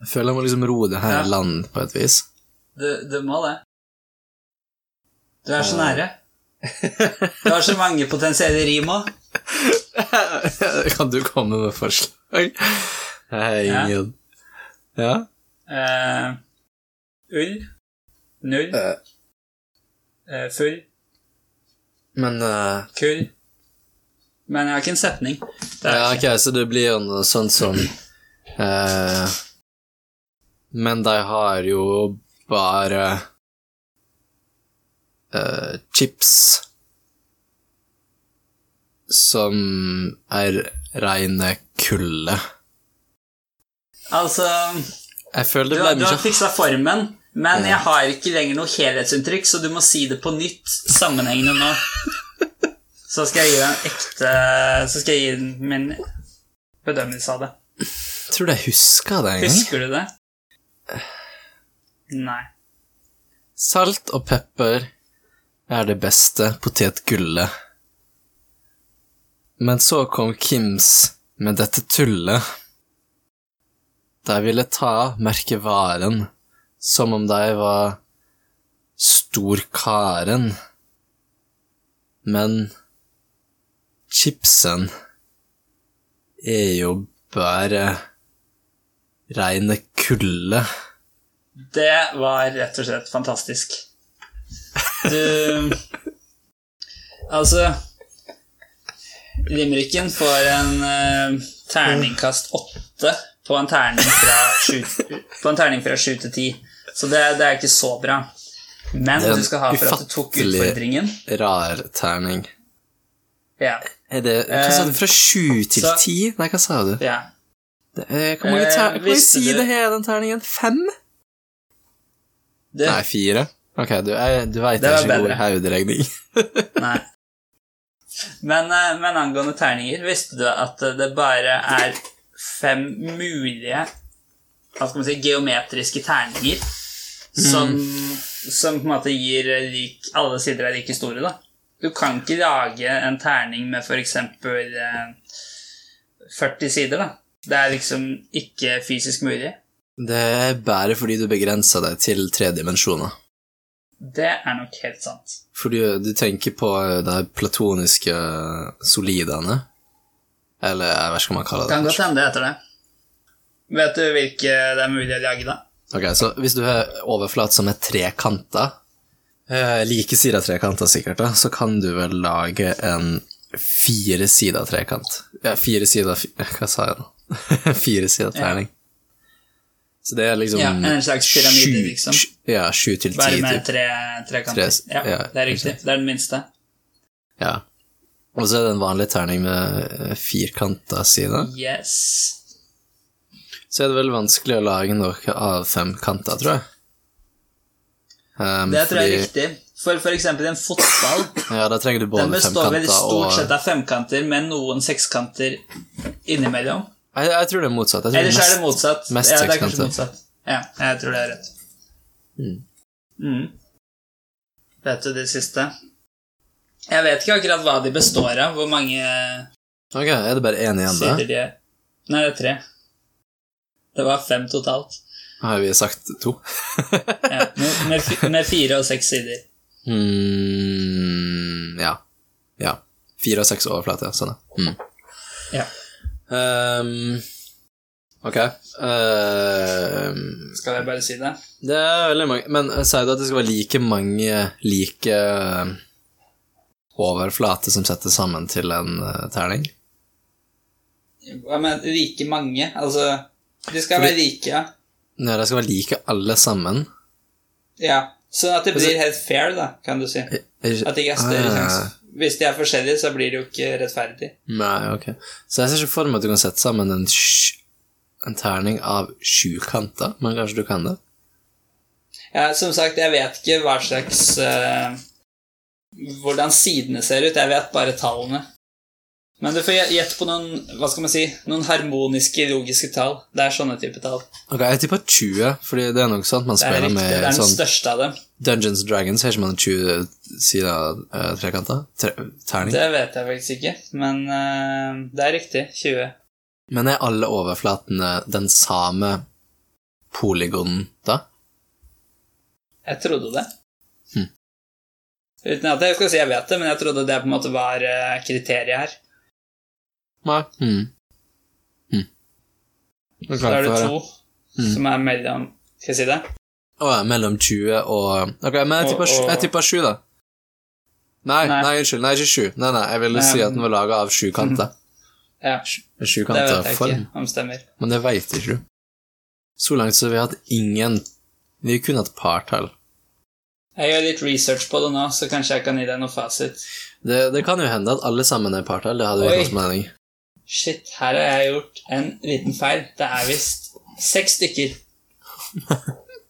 Speaker 2: Jeg føler jeg må liksom roe det her
Speaker 1: Ja.
Speaker 2: i land på et vis.
Speaker 1: Du, du må det. Du er så nære. Du har så mange potensielle rim òg.
Speaker 2: kan du komme med forslag? Hei,
Speaker 1: Ja.
Speaker 2: ingen Ja?
Speaker 1: Eh, ull. Null.
Speaker 2: Eh.
Speaker 1: Eh, full.
Speaker 2: Men eh,
Speaker 1: Kull. Men jeg har ikke en setning. Det er
Speaker 2: Ja,
Speaker 1: jeg ikke.
Speaker 2: ok, så det blir jo noe sånt som eh, Men de har jo bare eh, chips som er reine kulde.
Speaker 1: Altså,
Speaker 2: Jeg føler
Speaker 1: du,
Speaker 2: det
Speaker 1: har-
Speaker 2: ble
Speaker 1: du har
Speaker 2: mye
Speaker 1: fiksa formen, men jeg har ikke lenger noe helhetsinntrykk, så du må si det på nytt sammenhengende nå. Så skal jeg gi deg en ekte Så skal jeg gi den min bedømmelse av det.
Speaker 2: Jeg tror jeg husker det en gang.
Speaker 1: Husker du det?
Speaker 2: Eh.
Speaker 1: Nei.
Speaker 2: Salt og pepper er det beste potetgullet. Men så kom Kims med dette tullet. De ville ta merkevaren som om de var storkaren. Men chipsen er jo opphør eh, reine kullet.
Speaker 1: Det var rett og slett fantastisk. Du Altså Limericken får en eh, terningkast åtte på en terning fra sju, på en terning fra sju til ti. Så det, det er ikke så bra. Men
Speaker 2: Det er en
Speaker 1: du skal ha for at du tok
Speaker 2: ufattelig-
Speaker 1: utfordringen.
Speaker 2: Rar terning.
Speaker 1: Ja,
Speaker 2: Er det, hva sa du, fra sju til
Speaker 1: Eh, så-
Speaker 2: ti? Nei, hva sa du?
Speaker 1: ja.
Speaker 2: Det er, hvor mange,
Speaker 1: Eh,
Speaker 2: ter, hvor mange
Speaker 1: visste du-
Speaker 2: sider har den terningen? Fem?
Speaker 1: Det,
Speaker 2: Nei, fire. Ok, du, er- du veit
Speaker 1: Det
Speaker 2: jeg er
Speaker 1: var
Speaker 2: ikke god
Speaker 1: bedre.
Speaker 2: i hoderegning.
Speaker 1: Nei. Men, eh, men angående terninger, visste du at eh, det bare er fem mulige hva skal man si, geometriske terninger som, som på en måte gir eh, lik, alle sider er like store, da? Du kan ikke lage en terning med f.eks. 40 sider, da. Det er liksom ikke fysisk mulig.
Speaker 2: Det er bare fordi du begrenser deg til tre dimensjoner.
Speaker 1: Det er nok helt sant.
Speaker 2: For du, du tenker på eh, de platoniske eh, solidene. Eller jeg vet ikke hva man kaller det.
Speaker 1: Kan godt hende det heter det. Vet du hvilke det er mulig å lage, da?
Speaker 2: Ok, så hvis du har overflat som er trekanter, eh, like sider av trekanter sikkert, da, så kan du vel lage en fire sider av trekant. Ja, fire sider av fi- Hva sa jeg nå? fire sider av terning. Så det er liksom
Speaker 1: Ja, en slags pyramide,
Speaker 2: sju-
Speaker 1: liksom.
Speaker 2: sju- Ja, sju til
Speaker 1: Bare
Speaker 2: ti,
Speaker 1: med
Speaker 2: typ.
Speaker 1: tre trekanter.
Speaker 2: Tre-
Speaker 1: ja,
Speaker 2: ja,
Speaker 1: det er riktig. Det er den minste.
Speaker 2: Ja. Og så er det en vanlig terning med eh, firkanta sider.
Speaker 1: Yes.
Speaker 2: Så er det vel vanskelig å lage noe av femkanter, tror jeg. Um,
Speaker 1: Det tror jeg
Speaker 2: fordi-
Speaker 1: er riktig. For for eksempel en fotball.
Speaker 2: Ja, da trenger du
Speaker 1: Den
Speaker 2: både
Speaker 1: består vel i
Speaker 2: femkanter og
Speaker 1: stort sett av femkanter med noen sekskanter innimellom.
Speaker 2: Jeg, jeg tror det er motsatt. Jeg tror
Speaker 1: Ellers
Speaker 2: mest,
Speaker 1: er det motsatt.
Speaker 2: mest
Speaker 1: ja, det er kanskje
Speaker 2: sekskanter.
Speaker 1: motsatt. Ja, jeg tror det er rett.
Speaker 2: Mm.
Speaker 1: Mm. Vet du det siste? Jeg vet ikke akkurat hva de består av, hvor mange
Speaker 2: Ok, er det bare én igjen, da?
Speaker 1: sider de er. Nei, det er tre. Det var fem totalt.
Speaker 2: Har vi sagt to?
Speaker 1: Ja, med, med, fi- med fire og seks sider.
Speaker 2: Mm, ja. Ja. Fire og seks overflater, sånn, ja. Mm.
Speaker 1: Ja.
Speaker 2: Ehm, ok. Ehm,
Speaker 1: Skal jeg bare si det?
Speaker 2: det er veldig mange Men eh, sier du at det skal være like mange like eh, overflater som settes sammen til en eh, terning?
Speaker 1: Ja, men like mange, altså De skal
Speaker 2: Fordi-
Speaker 1: være like, ja.
Speaker 2: Nei, de skal være like alle sammen.
Speaker 1: ja. Sånn at det blir
Speaker 2: Altså- Ah,
Speaker 1: helt fair, da, kan du si. At det ikke er større sjanse. Hvis de er forskjellige, så blir det jo ikke rettferdig.
Speaker 2: Nei, ok. Så jeg ser ikke for meg at du kan sette sammen en, sj- en terning av sju kanter, men kanskje du kan det?
Speaker 1: Ja, som sagt, jeg vet ikke hva slags eh, Hvordan sidene ser ut. Jeg vet bare tallene. Men du får gjette på noen hva skal man si, noen harmoniske, logiske tall. Det er sånne type tall.
Speaker 2: Ok, jeg tipper 20, fordi det er nok sånn at man
Speaker 1: Det er
Speaker 2: spiller
Speaker 1: riktig. Det
Speaker 2: med
Speaker 1: er den
Speaker 2: sånn
Speaker 1: største av dem.
Speaker 2: Dungeons and Dragons, har ikke man 20 sider av eh, trekanter? Tre, terning?
Speaker 1: Det vet jeg faktisk ikke, men eh, det er riktig. 20.
Speaker 2: Men er alle overflatene den samme polygonen da?
Speaker 1: Jeg trodde det.
Speaker 2: Hm.
Speaker 1: Uten at jeg skal si jeg vet det, men jeg trodde det på en måte var eh, kriteriet her.
Speaker 2: Nei. Mm. Mm. Du er
Speaker 1: Så
Speaker 2: klar
Speaker 1: er det
Speaker 2: for det?
Speaker 1: to
Speaker 2: Mm.
Speaker 1: som er mellom Skal jeg si det?
Speaker 2: Å ja, mellom 20 og Ok, men jeg
Speaker 1: Og-
Speaker 2: tipper, sju-
Speaker 1: og-
Speaker 2: jeg tipper 7, da. Nei, nei,
Speaker 1: Nei.
Speaker 2: unnskyld. Nei, ikke 7. Nei, nei, jeg ville
Speaker 1: Nei,
Speaker 2: si at
Speaker 1: men-
Speaker 2: den var laga av sjukanter.
Speaker 1: Ja, det vet
Speaker 2: Sjukanta
Speaker 1: jeg
Speaker 2: form.
Speaker 1: ikke om stemmer.
Speaker 2: Men det veit ikke du. Så langt så har vi hatt ingen Vi har kun hatt partall.
Speaker 1: Jeg gjør litt research på det nå, så kanskje jeg kan gi deg noe fasit.
Speaker 2: Det, det kan jo hende at alle sammen er partall. Det hadde jo
Speaker 1: Oi.
Speaker 2: ikke noe mening.
Speaker 1: Shit, her har jeg gjort en liten feil. Det er visst seks stykker,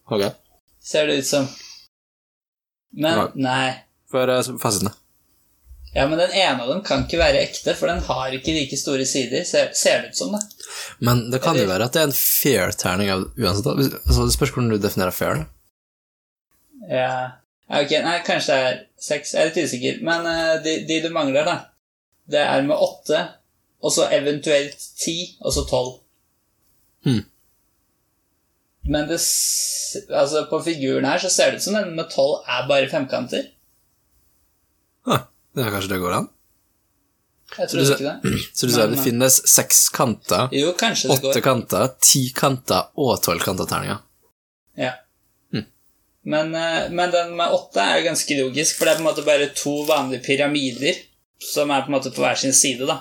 Speaker 2: Ok.
Speaker 1: ser det ut som. Men nei.
Speaker 2: For eh, fasitene.
Speaker 1: Ja, men den ene av dem kan ikke være ekte, for den har ikke like store sider, ser, ser det ut som, da.
Speaker 2: Men det kan jo
Speaker 1: Eller-
Speaker 2: være at det er en fair terning av uansett. da. Hvis- Så det spørs hvordan du definerer fair. da.
Speaker 1: Ja. Ja, Ok, nei, kanskje det er seks. Jeg er litt usikker. Men eh, de, de du mangler, da, det er med åtte, og så eventuelt ti, og så tolv.
Speaker 2: Hmm.
Speaker 1: Men det, s- altså, på figuren her så ser det ut som den med tolv er bare femkanter.
Speaker 2: Ah, det er kanskje det går an?
Speaker 1: Jeg
Speaker 2: Så du,
Speaker 1: trodde
Speaker 2: sa-
Speaker 1: ikke det.
Speaker 2: så du sa
Speaker 1: Nei,
Speaker 2: det
Speaker 1: nei.
Speaker 2: finnes seks kanter,
Speaker 1: Jo, kanskje det
Speaker 2: åtte
Speaker 1: går.
Speaker 2: kanter, ti kanter og tolv kanter terninger.
Speaker 1: Ja.
Speaker 2: Mm.
Speaker 1: Men, eh, men den med åtte er jo ganske logisk, for det er på en måte bare to vanlige pyramider som er på en måte på hver sin side, da.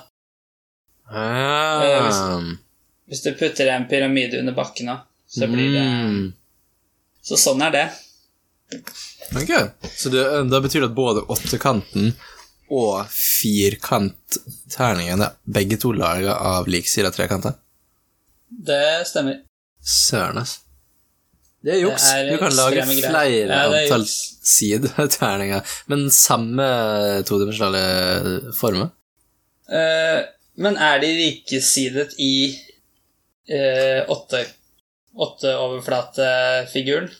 Speaker 2: Ah.
Speaker 1: Hvis du putter en pyramide under bakken òg, så blir det
Speaker 2: Mm.
Speaker 1: Så sånn er det.
Speaker 2: Ok, så det, eh, da betyr det at både åttekanten og firkantterningene begge to laga av liksida trekanter?
Speaker 1: Det stemmer.
Speaker 2: Søren, ass. Det er juks.
Speaker 1: Det er
Speaker 2: Du kan lage
Speaker 1: ekstreme greier.
Speaker 2: flere
Speaker 1: Ja, det er
Speaker 2: antall
Speaker 1: juks.
Speaker 2: sideterninger, men samme todimensjonale former.
Speaker 1: Eh, men er de likesidet i eh, åtte åtteoverflatefiguren?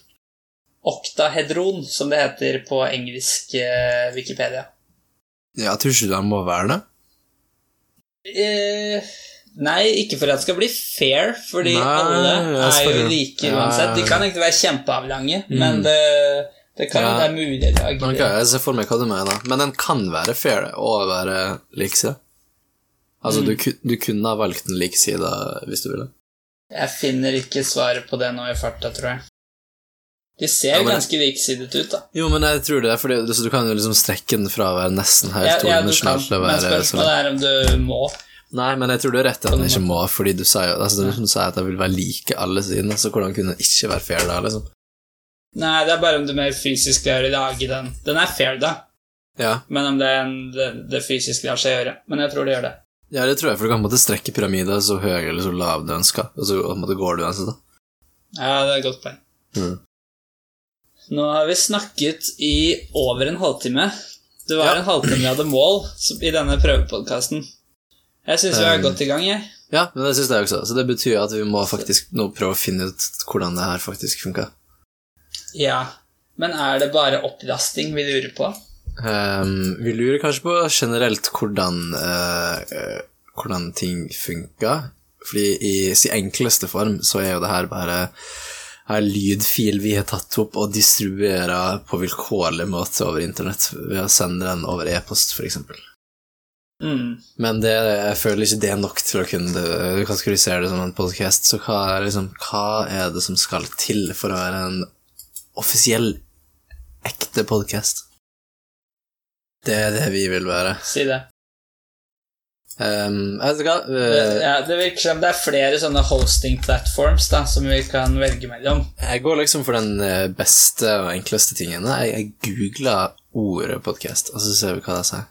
Speaker 1: Oktahedron, som det heter på engelsk eh, Wikipedia.
Speaker 2: Ja, tror ikke du den må være det?
Speaker 1: Eh, nei, ikke for at det skal bli fair, fordi
Speaker 2: Nei,
Speaker 1: alle
Speaker 2: jeg
Speaker 1: er jo
Speaker 2: spør-
Speaker 1: like
Speaker 2: Ja,
Speaker 1: uansett. De
Speaker 2: ja,
Speaker 1: kan egentlig være kjempeavlange,
Speaker 2: Mm.
Speaker 1: men det, det kan jo
Speaker 2: Ja.
Speaker 1: være mulig å lage
Speaker 2: Ok, jeg ser for meg hva du mener, men den kan være fair og være liksida. Altså, du, ku- du kunne ha valgt en liksida hvis du ville.
Speaker 1: Jeg finner ikke svaret på det nå i farta, tror jeg. De ser
Speaker 2: Ja, men-
Speaker 1: ganske liksidet ut, da.
Speaker 2: Jo, men jeg tror det, for så du kan jo liksom strekke den fra å være nesten helt
Speaker 1: Ja, ja, du kan,
Speaker 2: todimensjonal til å
Speaker 1: men
Speaker 2: være sånn.
Speaker 1: spørsmålet er om du må.
Speaker 2: Nei, men jeg tror du har rett i at den ikke må, fordi du sa jo altså, det er liksom du sa at jeg vil være like alle sidene, så hvordan kunne den ikke være fair da, liksom?
Speaker 1: Nei, det er bare om du mer fysisk klarer å lage den. Den er fair, da,
Speaker 2: Ja.
Speaker 1: men om det, er en, det, det fysisk lar seg gjøre. Men jeg tror det gjør det.
Speaker 2: ja, det tror jeg, for du kan på en måte strekke pyramiden så høy eller så lav du ønsker, og så på en måte går du uansett, da.
Speaker 1: Ja, det er et godt poeng.
Speaker 2: Mhm.
Speaker 1: Nå har vi snakket i over en halvtime. Det var
Speaker 2: Ja.
Speaker 1: en halvtime vi hadde mål som- i denne prøvepodkasten. Jeg syns vi er
Speaker 2: Um.
Speaker 1: godt i gang, jeg.
Speaker 2: Ja, men det synes jeg også, så det betyr at vi må faktisk nå prøve å finne ut hvordan det her faktisk funker.
Speaker 1: Ja. Men er det bare opplasting vi lurer på?
Speaker 2: Ehm, vi lurer kanskje på generelt hvordan, eh, eh, hvordan ting funker. Fordi i sin enkleste form så er jo det her bare en lydfil vi har tatt opp og distribuerer på vilkårlig måte over internett ved å sende den over e-post, f.eks.
Speaker 1: Mm.
Speaker 2: Men det, jeg føler ikke det er nok til å kunne eh, kategorisere det som en podkast. Så hva er, liksom, hva er det som skal til for å være en offisiell, ekte podkast? Det er det vi vil være.
Speaker 1: Si det.
Speaker 2: Ehm, jeg vet ikke hva
Speaker 1: Det-
Speaker 2: eh,
Speaker 1: Ja, det virker som det er flere sånne hosting platforms da, som vi kan velge mellom.
Speaker 2: Jeg går liksom for den eh, beste og enkleste tingen. Jeg, jeg googla ordet podkast, og så ser vi hva det sier.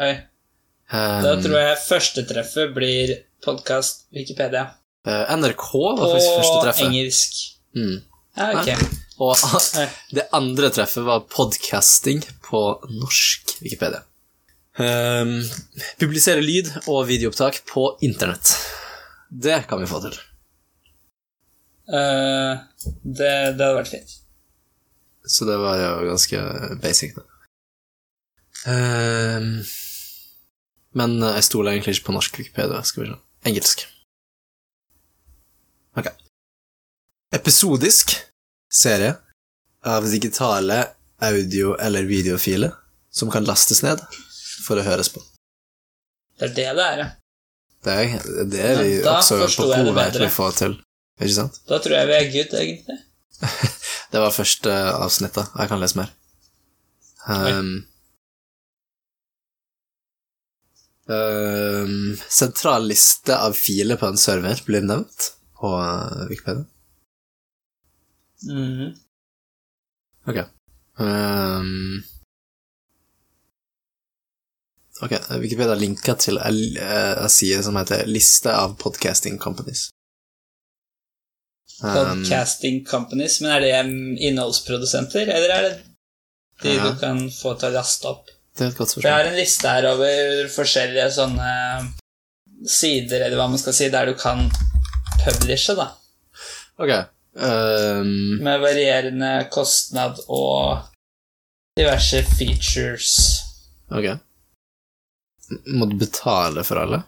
Speaker 1: Oi, da
Speaker 2: Um.
Speaker 1: tror jeg førstetreffet blir podkast Wikipedia.
Speaker 2: Ehm, eh, NRK var
Speaker 1: På
Speaker 2: faktisk første treffet.
Speaker 1: engelsk.
Speaker 2: Mm.
Speaker 1: Ja, ok.
Speaker 2: Og eh,
Speaker 1: Nei.
Speaker 2: det andre treffet var podcasting på norsk Wikipedia. Ehm, publisere lyd og videoopptak på internett. Det kan vi få til.
Speaker 1: Eh, det, det hadde vært fint.
Speaker 2: Så det var jo ganske basic, da. Ehm, men jeg stoler egentlig ikke på norsk Wikipedia. Skal vi se. Engelsk. Ok. Episodisk serie av digitale audio- eller videofiler som kan lastes ned for å høres på.
Speaker 1: Det er det det er, ja.
Speaker 2: Det er, det er vi
Speaker 1: Ja, da
Speaker 2: også på
Speaker 1: forstår jeg det
Speaker 2: god vei til
Speaker 1: bedre.
Speaker 2: å få til. Ikke sant?
Speaker 1: Da tror jeg vi er good, egentlig.
Speaker 2: Det var første avsnitt, da. Jeg kan lese mer. Um, um, sentral liste av filer på en server blir nevnt på eh, Wikipedia.
Speaker 1: Mhm.
Speaker 2: Um, ok, Wikipedia linker til en uh, en side som heter 'Liste av podcasting companies'. Um,
Speaker 1: Podcasting companies, men er det mm, innholdsprodusenter, eller er det de
Speaker 2: Ja.
Speaker 1: du kan få til å laste opp?
Speaker 2: det er et godt
Speaker 1: For jeg
Speaker 2: spørsmål.
Speaker 1: har en liste her over forskjellige sånne sider, eller hva man skal si, der du kan publishe, da.
Speaker 2: Ok. Um,
Speaker 1: Med varierende kostnad og diverse features.
Speaker 2: Ok. Må du betale for alle?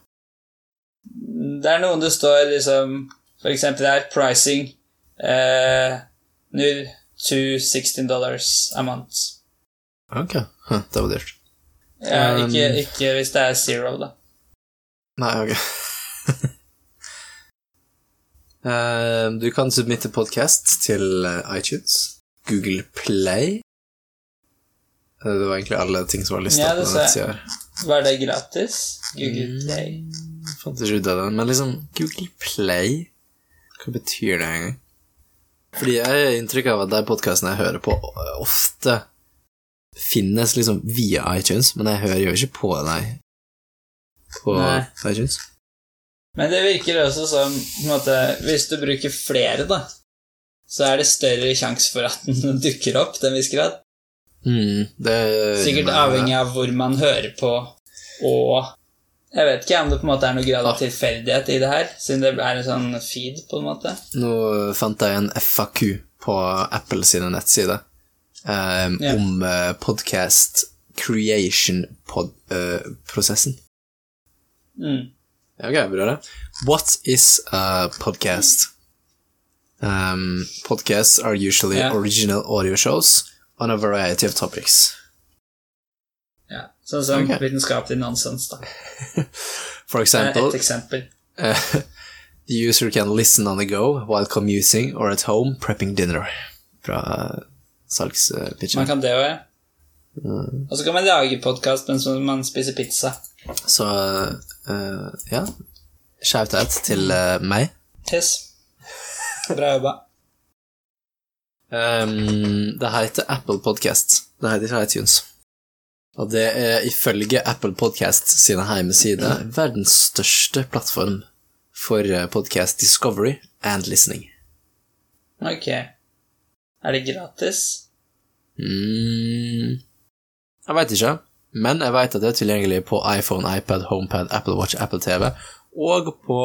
Speaker 1: Det er noen det står liksom For eksempel her, pricing eh, 0 to 16 dollars a month.
Speaker 2: Ok. Hm, Det var dyrt.
Speaker 1: Ja,
Speaker 2: Um,
Speaker 1: ikke, ikke hvis det er zero, da.
Speaker 2: Nei, ok. Eh, du kan submitte podcast til eh, iTunes, Google Play. Eh, Det var egentlig alle ting som var listet
Speaker 1: Ja,
Speaker 2: på
Speaker 1: det
Speaker 2: den
Speaker 1: ser jeg.
Speaker 2: nettsida. her.
Speaker 1: Var det gratis? Google
Speaker 2: Mm.
Speaker 1: Play.
Speaker 2: Jeg Fant ikke ut av den, men liksom Google Play Hva betyr det engang? Fordi jeg har inntrykk av at de podkastene jeg hører på, eh, ofte finnes liksom via iTunes, men jeg hører jo ikke på dem på
Speaker 1: Nei.
Speaker 2: iTunes.
Speaker 1: Men det virker også som på en måte, Hvis du bruker flere, da, så er det større sjanse for at den dukker opp til en viss grad.
Speaker 2: Mm, det
Speaker 1: Sikkert avhengig av hvor man hører på, og Jeg vet ikke om det på en måte er noen grad
Speaker 2: Ah.
Speaker 1: av tilfeldighet i det her, siden det er en sånn feed, på en måte.
Speaker 2: Nå fant jeg en FAQ på Apple sine nettsider
Speaker 1: Ja.
Speaker 2: eh, om eh, podcast eh, creation-prosessen.
Speaker 1: Mm.
Speaker 2: Ja, ok, bra det. What is a podcast? Um, podcasts are usually
Speaker 1: Ja.
Speaker 2: original audio shows on a variety of topics.
Speaker 1: Ja. Sånn som
Speaker 2: Ok.
Speaker 1: vitenskapelig nonsens, da.
Speaker 2: For
Speaker 1: Det er
Speaker 2: example,
Speaker 1: et eksempel.
Speaker 2: the user can listen on the go while commuting or at home prepping dinner. Fra uh, salgspitchen.
Speaker 1: Man kan det òg, ja. Og så kan man lage podkast mens man spiser pizza.
Speaker 2: Så eh, ja, shout-out til eh, meg.
Speaker 1: Yes. Bra jobba.
Speaker 2: Ehm, det heter Apple Podcast. Det heter ikke iTunes. Og det er ifølge Apple Podcast sine hjemmesider verdens største plattform for eh, podcast discovery and listening.
Speaker 1: Ok. Er det gratis?
Speaker 2: Mm. Jeg veit ikke, men jeg veit at det er tilgjengelig på iPhone, iPad, HomePad, Apple Watch, Apple TV og på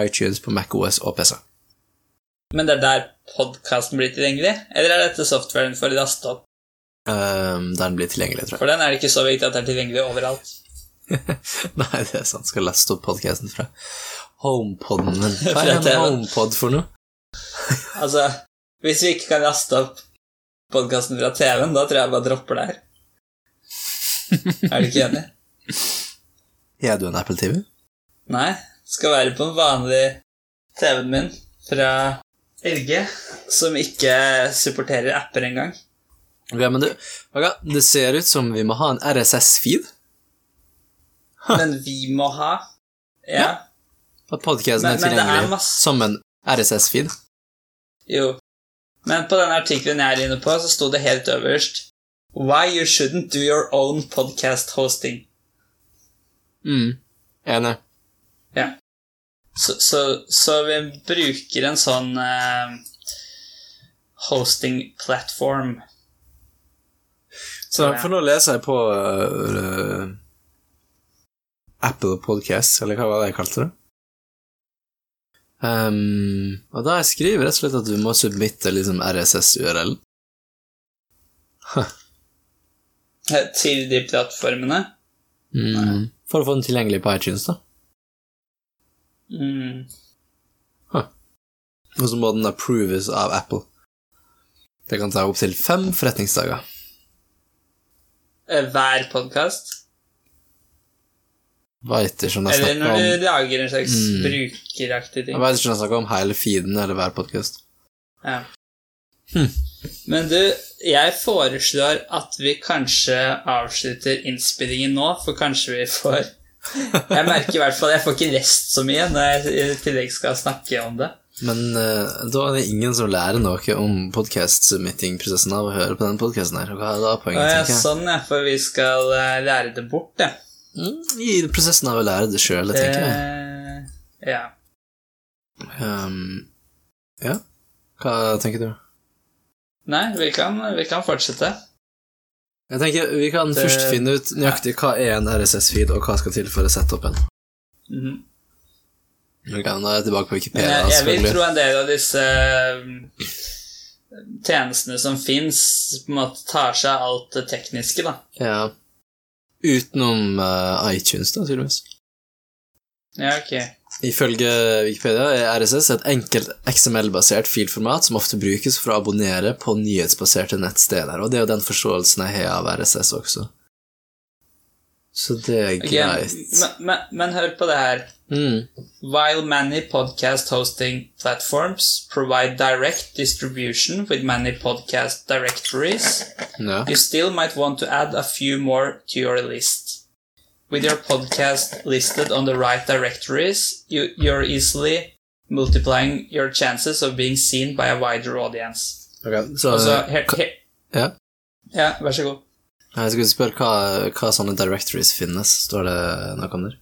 Speaker 2: iTunes på MacOS og PC.
Speaker 1: Men det er der podkasten blir tilgjengelig? Eller er dette softwaren for raste opp?
Speaker 2: Ehm, den blir tilgjengelig, tror jeg.
Speaker 1: For den er det ikke så viktig at det er tilgjengelig overalt.
Speaker 2: Nei, det er sant. Skal laste opp podkasten fra HomePoden min. Hva
Speaker 1: Fra
Speaker 2: er en
Speaker 1: TV.
Speaker 2: HomePod for noe?
Speaker 1: Altså, hvis vi ikke kan raste opp podkasten fra TV-en, da tror jeg jeg bare dropper det her. Er du ikke enig?
Speaker 2: Er du en Apple TV?
Speaker 1: Nei. Skal være på en vanlig TV-en min fra LG, som ikke supporterer apper engang.
Speaker 2: Ok, men du, ok, Det ser ut som vi må ha en RSS-feed.
Speaker 1: Men vi må ha Ja.
Speaker 2: At podkasten
Speaker 1: Men- men
Speaker 2: er
Speaker 1: det er
Speaker 2: tilgjengelig
Speaker 1: masse-
Speaker 2: som en RSS-feed.
Speaker 1: Jo. Men på denne artikkelen jeg er inne på, så sto det helt øverst Why you shouldn't do your own podcast hosting.
Speaker 2: Mm. Enig.
Speaker 1: Så, så, så vi bruker en sånn eh, hosting platform.
Speaker 2: Så for nå leser jeg på øh, Apple Podcast, eller hva var det jeg kalte det? Ehm, og da jeg skriver rett og slett at du må submitte liksom RSS-URL.
Speaker 1: Eh, Til de plattformene.
Speaker 2: Mm. For å få den tilgjengelig på iTunes, da.
Speaker 1: Mm.
Speaker 2: Og så må den approves av Apple. Det kan ta opptil fem forretningsdager.
Speaker 1: Eh, Hver podkast.
Speaker 2: Veit ikke om jeg
Speaker 1: Eller
Speaker 2: snakker
Speaker 1: når
Speaker 2: sånn om
Speaker 1: du lager en slags
Speaker 2: Mm.
Speaker 1: brukeraktig ting.
Speaker 2: Jeg vet ikke om jeg snakker om hele feeden eller hver podkast.
Speaker 1: Ja.
Speaker 2: Hmm.
Speaker 1: Men du, jeg foreslår at vi kanskje avslutter innspillingen nå, for kanskje vi får Jeg merker i hvert fall jeg får ikke lest så mye når jeg i tillegg skal snakke om det.
Speaker 2: Men eh, da er det ingen som lærer noe om podkast-submitting-prosessen av å høre på den podkasten her. Og hva er da
Speaker 1: Og
Speaker 2: poenget,
Speaker 1: ja,
Speaker 2: tenker jeg?
Speaker 1: sånn, ja, for vi skal eh, lære det bort, ja.
Speaker 2: Mm, I prosessen av å lære det sjøl,
Speaker 1: det.
Speaker 2: tenker jeg.
Speaker 1: Eh, Ja.
Speaker 2: Ehm, ja, hva tenker du?
Speaker 1: Nei, vi kan, vi kan fortsette.
Speaker 2: Jeg tenker Vi kan
Speaker 1: Det-
Speaker 2: først finne ut nøyaktig hva er en RSS-feed, og hva skal til for å sette opp en.
Speaker 1: Mhm.
Speaker 2: Ok, nå er jeg tilbake på
Speaker 1: Men
Speaker 2: Wikipedia,
Speaker 1: jeg, jeg vil
Speaker 2: selvfølgelig.
Speaker 1: tro en del av disse um, tjenestene som fins, på en måte tar seg av alt det tekniske, da.
Speaker 2: Ja. Utenom eh, iTunes, da, tydeligvis.
Speaker 1: Ja, ok.
Speaker 2: Ifølge Wikipedia er RSS et enkelt XML-basert filformat som ofte brukes for å abonnere på nyhetsbaserte nettsteder, og det er jo den forståelsen jeg har av RSS også. Så det er
Speaker 1: Ok,
Speaker 2: greit.
Speaker 1: men, men, men hør på det her.
Speaker 2: Mm.
Speaker 1: While many podcast hosting platforms provide direct distribution with many podcast directories,
Speaker 2: Ja.
Speaker 1: you still might want to add a few more to your list. With your podcast listed on the right directories, you, you're easily multiplying your chances of being seen by a wider audience.
Speaker 2: Ok, Så,
Speaker 1: Altså, her,
Speaker 2: hva-
Speaker 1: her,
Speaker 2: ja.
Speaker 1: ja, vær så god.
Speaker 2: Jeg skulle spørre hva, hva sånne directories finnes. Står det noe om det?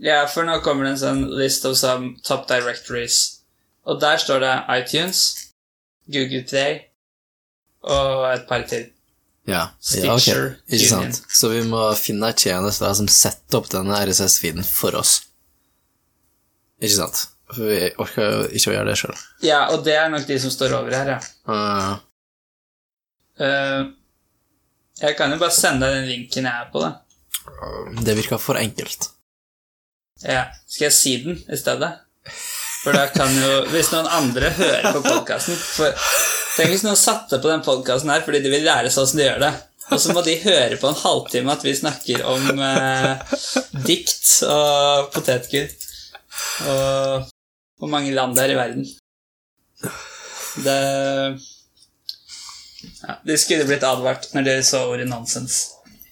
Speaker 1: Ja, for nå kommer det en sånn list of some top directories. Og der står det iTunes, Google Play og et par til.
Speaker 2: Ja. ja ok.
Speaker 1: Stitcher
Speaker 2: Ikke
Speaker 1: Union.
Speaker 2: sant? Så vi må finne en tjeneste da som setter opp denne RSS-feeden for oss. Ikke sant? For vi orker jo ikke å gjøre det sjøl.
Speaker 1: Ja, og det er nok de som står over her, ja. Eh, jeg kan jo bare sende deg den linken jeg er på, da.
Speaker 2: det virker for enkelt.
Speaker 1: Ja. Skal jeg si den i stedet? For da kan jo Hvis noen andre hører på podkasten Tenk hvis noen satte på den podkasten her fordi de vil lære seg åssen de gjør det. Og så må de høre på en halvtime at vi snakker om eh, dikt og potetgull. Og hvor mange land det er i verden. Det ja, De skulle blitt advart når dere så ordet nonsens.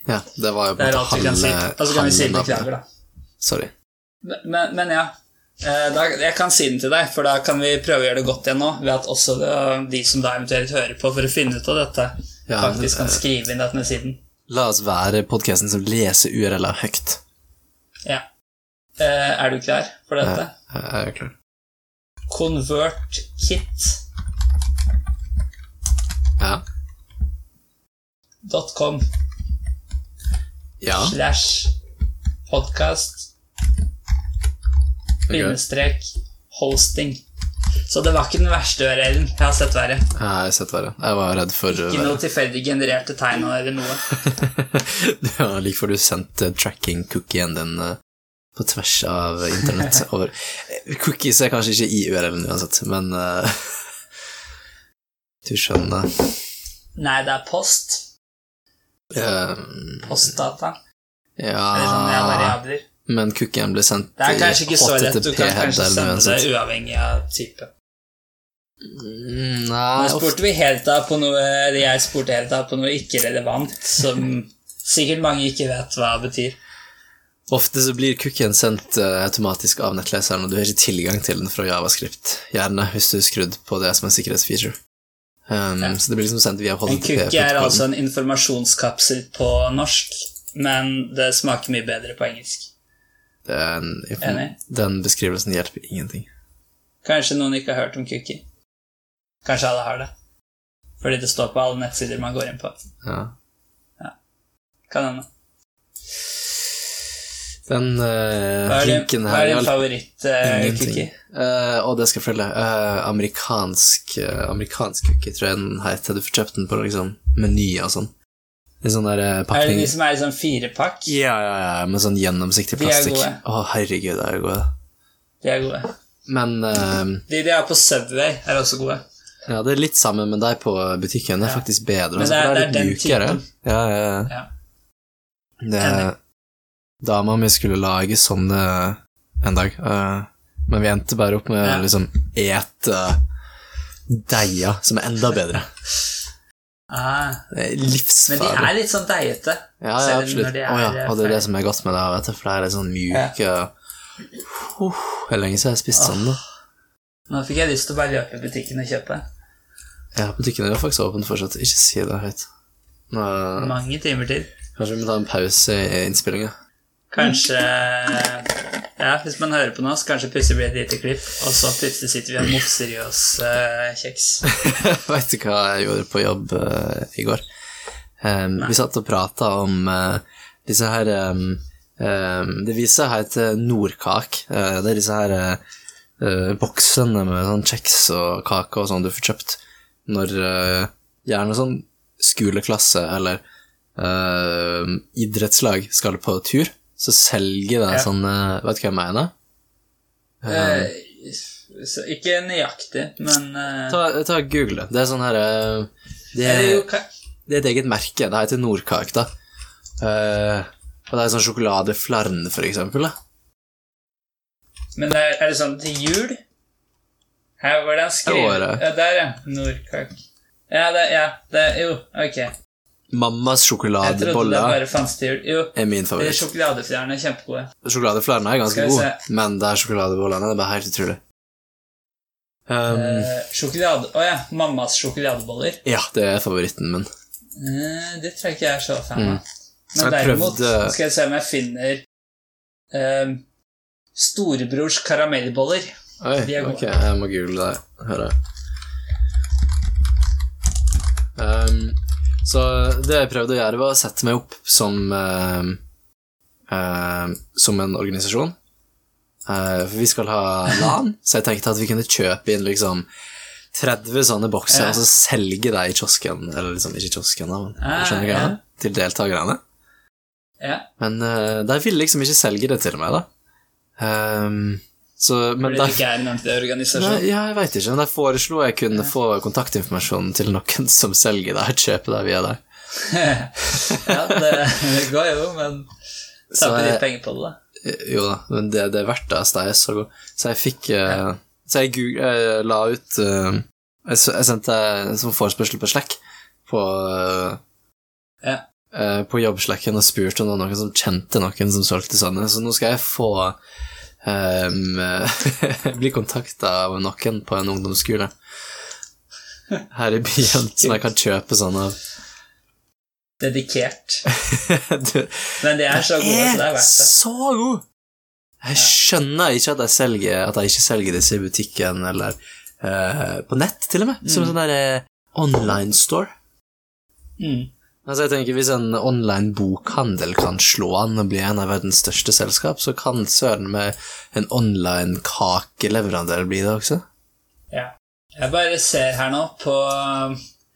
Speaker 2: Ja, det var jo på
Speaker 1: Det
Speaker 2: en
Speaker 1: er
Speaker 2: måte
Speaker 1: alt vi kan si.
Speaker 2: halve-
Speaker 1: Og så kan vi si
Speaker 2: halve navnet.
Speaker 1: beklager, da.
Speaker 2: Sorry.
Speaker 1: Men, men ja, eh, da, jeg kan si den til deg, for da kan vi prøve å gjøre det godt igjen nå, ved at også eh, de som da eventuelt hører på for å finne ut av dette,
Speaker 2: Ja, eh,
Speaker 1: faktisk kan skrive inn denne siden.
Speaker 2: La oss være podkasten som leser URL-er høyt.
Speaker 1: Ja. Eh, Er du klar for dette?
Speaker 2: Jeg Eh, er klar.
Speaker 1: Convert kit.com
Speaker 2: Ja. Ja.
Speaker 1: slash podcast
Speaker 2: ok.
Speaker 1: bindestrek hosting. Så det var ikke den verste URL-en jeg har sett verre.
Speaker 2: Ja, Jeg har sett verre. Jeg var redd for
Speaker 1: Ikke noe tilfeldig genererte tegn eller noe.
Speaker 2: Ja, like før du sendte tracking-cookien din eh, på tvers av internett over Eh, Cookies er kanskje ikke i URL-en uansett, men eh, Du skjønner.
Speaker 1: Nei, det er post.
Speaker 2: Eh,
Speaker 1: sånn Postdata.
Speaker 2: Ah,
Speaker 1: Eller sånne
Speaker 2: ja
Speaker 1: variabler.
Speaker 2: Men cookien ble sendt
Speaker 1: Det er kanskje ikke så
Speaker 2: i
Speaker 1: lett. Du kan kanskje
Speaker 2: HTTP-headeren
Speaker 1: sende
Speaker 2: uansett.
Speaker 1: det uavhengig av type.
Speaker 2: Mm,
Speaker 1: Nå
Speaker 2: Nei, ofte
Speaker 1: spurte vi helt da på noe eller Jeg spurte helt da på noe ikke relevant, som sikkert mange ikke vet hva betyr.
Speaker 2: Ofte så blir cookien sendt eh, automatisk av nettleseren, og du har ikke tilgang til den fra JavaScript, gjerne hvis du er skrudd på det som en sikkerhetsfeature. Um,
Speaker 1: Ja.
Speaker 2: Så det blir liksom sendt via
Speaker 1: En cookie er
Speaker 2: HTTP-protokollen.
Speaker 1: altså en informasjonskapsel på norsk, men det smaker mye bedre på engelsk.
Speaker 2: Den,
Speaker 1: Enig.
Speaker 2: den beskrivelsen hjelper ingenting.
Speaker 1: Kanskje noen ikke har hørt om cookie. Kanskje alle har det. Fordi det står på alle nettsider man går inn på.
Speaker 2: Ja.
Speaker 1: Kan hende.
Speaker 2: Den eh,
Speaker 1: Hva er din,
Speaker 2: linken
Speaker 1: hva
Speaker 2: her
Speaker 1: er din
Speaker 2: hjalp
Speaker 1: favoritt-cookie?
Speaker 2: ingenting. Eh, og det skal jeg fortelle. Eh, amerikansk eh, Amerikansk cookie, tror jeg den heter. Du får kjøpt den på liksom, meny og sånn. I sånn der eh,
Speaker 1: er det
Speaker 2: pakning.
Speaker 1: de som er i sånn firepakk?
Speaker 2: Ja, ja, ja, med sånn gjennomsiktig
Speaker 1: De er
Speaker 2: plastikk.
Speaker 1: gode.
Speaker 2: Å, herregud, de er gode.
Speaker 1: De er gode.
Speaker 2: Men eh,
Speaker 1: De de har på Subway, er også gode.
Speaker 2: ja, det er litt samme med deg på butikken. Det er
Speaker 1: Ja.
Speaker 2: faktisk bedre.
Speaker 1: Men
Speaker 2: altså,
Speaker 1: det er-
Speaker 2: for
Speaker 1: det er
Speaker 2: litt
Speaker 1: den
Speaker 2: mjukere. Ja, ja, ja.
Speaker 1: Ja.
Speaker 2: Det,
Speaker 1: Enig.
Speaker 2: dama mi skulle lage sånne en dag, eh, men vi endte bare opp med å
Speaker 1: Ja.
Speaker 2: liksom ete deia, som er enda bedre.
Speaker 1: Ah,
Speaker 2: Det er
Speaker 1: men de
Speaker 2: Livsfarlig.
Speaker 1: er litt sånn deigete.
Speaker 2: Ja, ja,
Speaker 1: selv når
Speaker 2: absolutt.
Speaker 1: de er,
Speaker 2: Å ja,
Speaker 1: eh,
Speaker 2: og det er det
Speaker 1: ferdig.
Speaker 2: som er godt med det, vet du, for det er litt sånn mjuke Huh, Det er lenge siden jeg har spist sånn, da.
Speaker 1: Nå fikk jeg lyst til å bare løpe i butikken og kjøpe.
Speaker 2: Ja, butikken er jo faktisk åpen fortsatt. Ikke si det høyt. Nå,
Speaker 1: Mange timer til.
Speaker 2: kanskje vi må ta en pause i innspillinga.
Speaker 1: Kanskje Ja, hvis man hører på nå, så kanskje plutselig blir det et lite klipp, og så plutselig sitter vi og mofser i oss eh, kjeks.
Speaker 2: Veit du hva jeg gjorde på jobb eh, i går? Em, vi satt og prata om eh, disse her em, em, Det viser seg heter Nordkak. Eh, det er disse her eh, eh, boksene med sånn kjeks og kake og sånn du får kjøpt når eh, Gjerne sånn skoleklasse eller em, idrettslag skal på tur. Så selger de
Speaker 1: Ja.
Speaker 2: sånne Vet du hva jeg mener?
Speaker 1: Eh, så ikke nøyaktig, men eh,
Speaker 2: Ta, ta Google det. Det er sånn her eh, det-
Speaker 1: eller jo, ka-
Speaker 2: Det er et eget merke. Det heter Nordkak, da. Eh, Og det er sånn sjokoladeflarn, for eksempel. Da.
Speaker 1: Men det er, er det sånn til jul? Her var det han skrev
Speaker 2: Det var det.
Speaker 1: ja, Der, ja. Nordkak. Ja, det, ja, det Jo, ok.
Speaker 2: Mammas
Speaker 1: Jeg trodde det
Speaker 2: sjokoladeboller
Speaker 1: bare fantes til jul. Jo,
Speaker 2: er min
Speaker 1: eh,
Speaker 2: favoritt.
Speaker 1: sjokoladeflarene er kjempegode.
Speaker 2: Sjokoladeflarene er ganske
Speaker 1: Skal vi
Speaker 2: gode, men det er sjokoladebollene. Det er bare helt utrolig. Um,
Speaker 1: Eh, sjokolade... Å ja, mammas sjokoladeboller.
Speaker 2: ja, det er favoritten min.
Speaker 1: Eh, det tror jeg ikke jeg er så fan av.
Speaker 2: Mm.
Speaker 1: Men
Speaker 2: Jeg
Speaker 1: derimot
Speaker 2: prøvde-
Speaker 1: skal jeg se om jeg finner eh, storebrors karamellboller.
Speaker 2: Oi,
Speaker 1: De er gode.
Speaker 2: ok, jeg må google det, hører jeg. Ehm, så det jeg prøvde å gjøre var å sette meg opp som, ehm, ehm, som en organisasjon. Eh, for vi skal ha LAN, så jeg tenkte at vi kunne kjøpe inn liksom 30 sånne bokser
Speaker 1: Ja.
Speaker 2: og så selge dem i kiosken, eller liksom ikke i kiosken, da, men
Speaker 1: Ja,
Speaker 2: skjønner du hva jeg
Speaker 1: Ah, ja.
Speaker 2: mener? Til deltakerne.
Speaker 1: Ja,
Speaker 2: Men eh, de ville liksom ikke selge det til meg, da. Ehm, så, men
Speaker 1: fordi det
Speaker 2: derfor
Speaker 1: ikke er en ordentlig organisasjon.
Speaker 2: Nei, ja, jeg veit ikke, men jeg foreslo jeg kunne få kontaktinformasjon til noen som selger det, og kjøpe det via deg.
Speaker 1: ja, det, det går jo, men
Speaker 2: Så
Speaker 1: taper
Speaker 2: jeg-
Speaker 1: litt penger på det, da.
Speaker 2: Jo da, men det, det er verdt det, altså, det er så god. Så jeg fikk eh, Så jeg, goog- jeg la ut eh, jeg, s- jeg sendte en sånn forespørsel på Slack på eh,
Speaker 1: Ja.
Speaker 2: eh, På jobbslacken og spurte om det var noen som kjente noen som solgte sånne, så nå skal jeg få eh, bli kontakta av noen på en ungdomsskole her i byen som jeg kan kjøpe sånne av.
Speaker 1: Dedikert.
Speaker 2: du,
Speaker 1: Men de er så gode, så det er verdt det.
Speaker 2: så god! Jeg skjønner ikke at jeg selger, at jeg ikke selger disse i butikken eller eh, på nett, til og med. Som en sånn der eh, online store.
Speaker 1: Mm.
Speaker 2: Altså jeg tenker Hvis en online bokhandel kan slå an og bli en av verdens største selskap, så kan søren med en online kakeleverandør bli det også.
Speaker 1: Ja. Jeg bare ser her nå på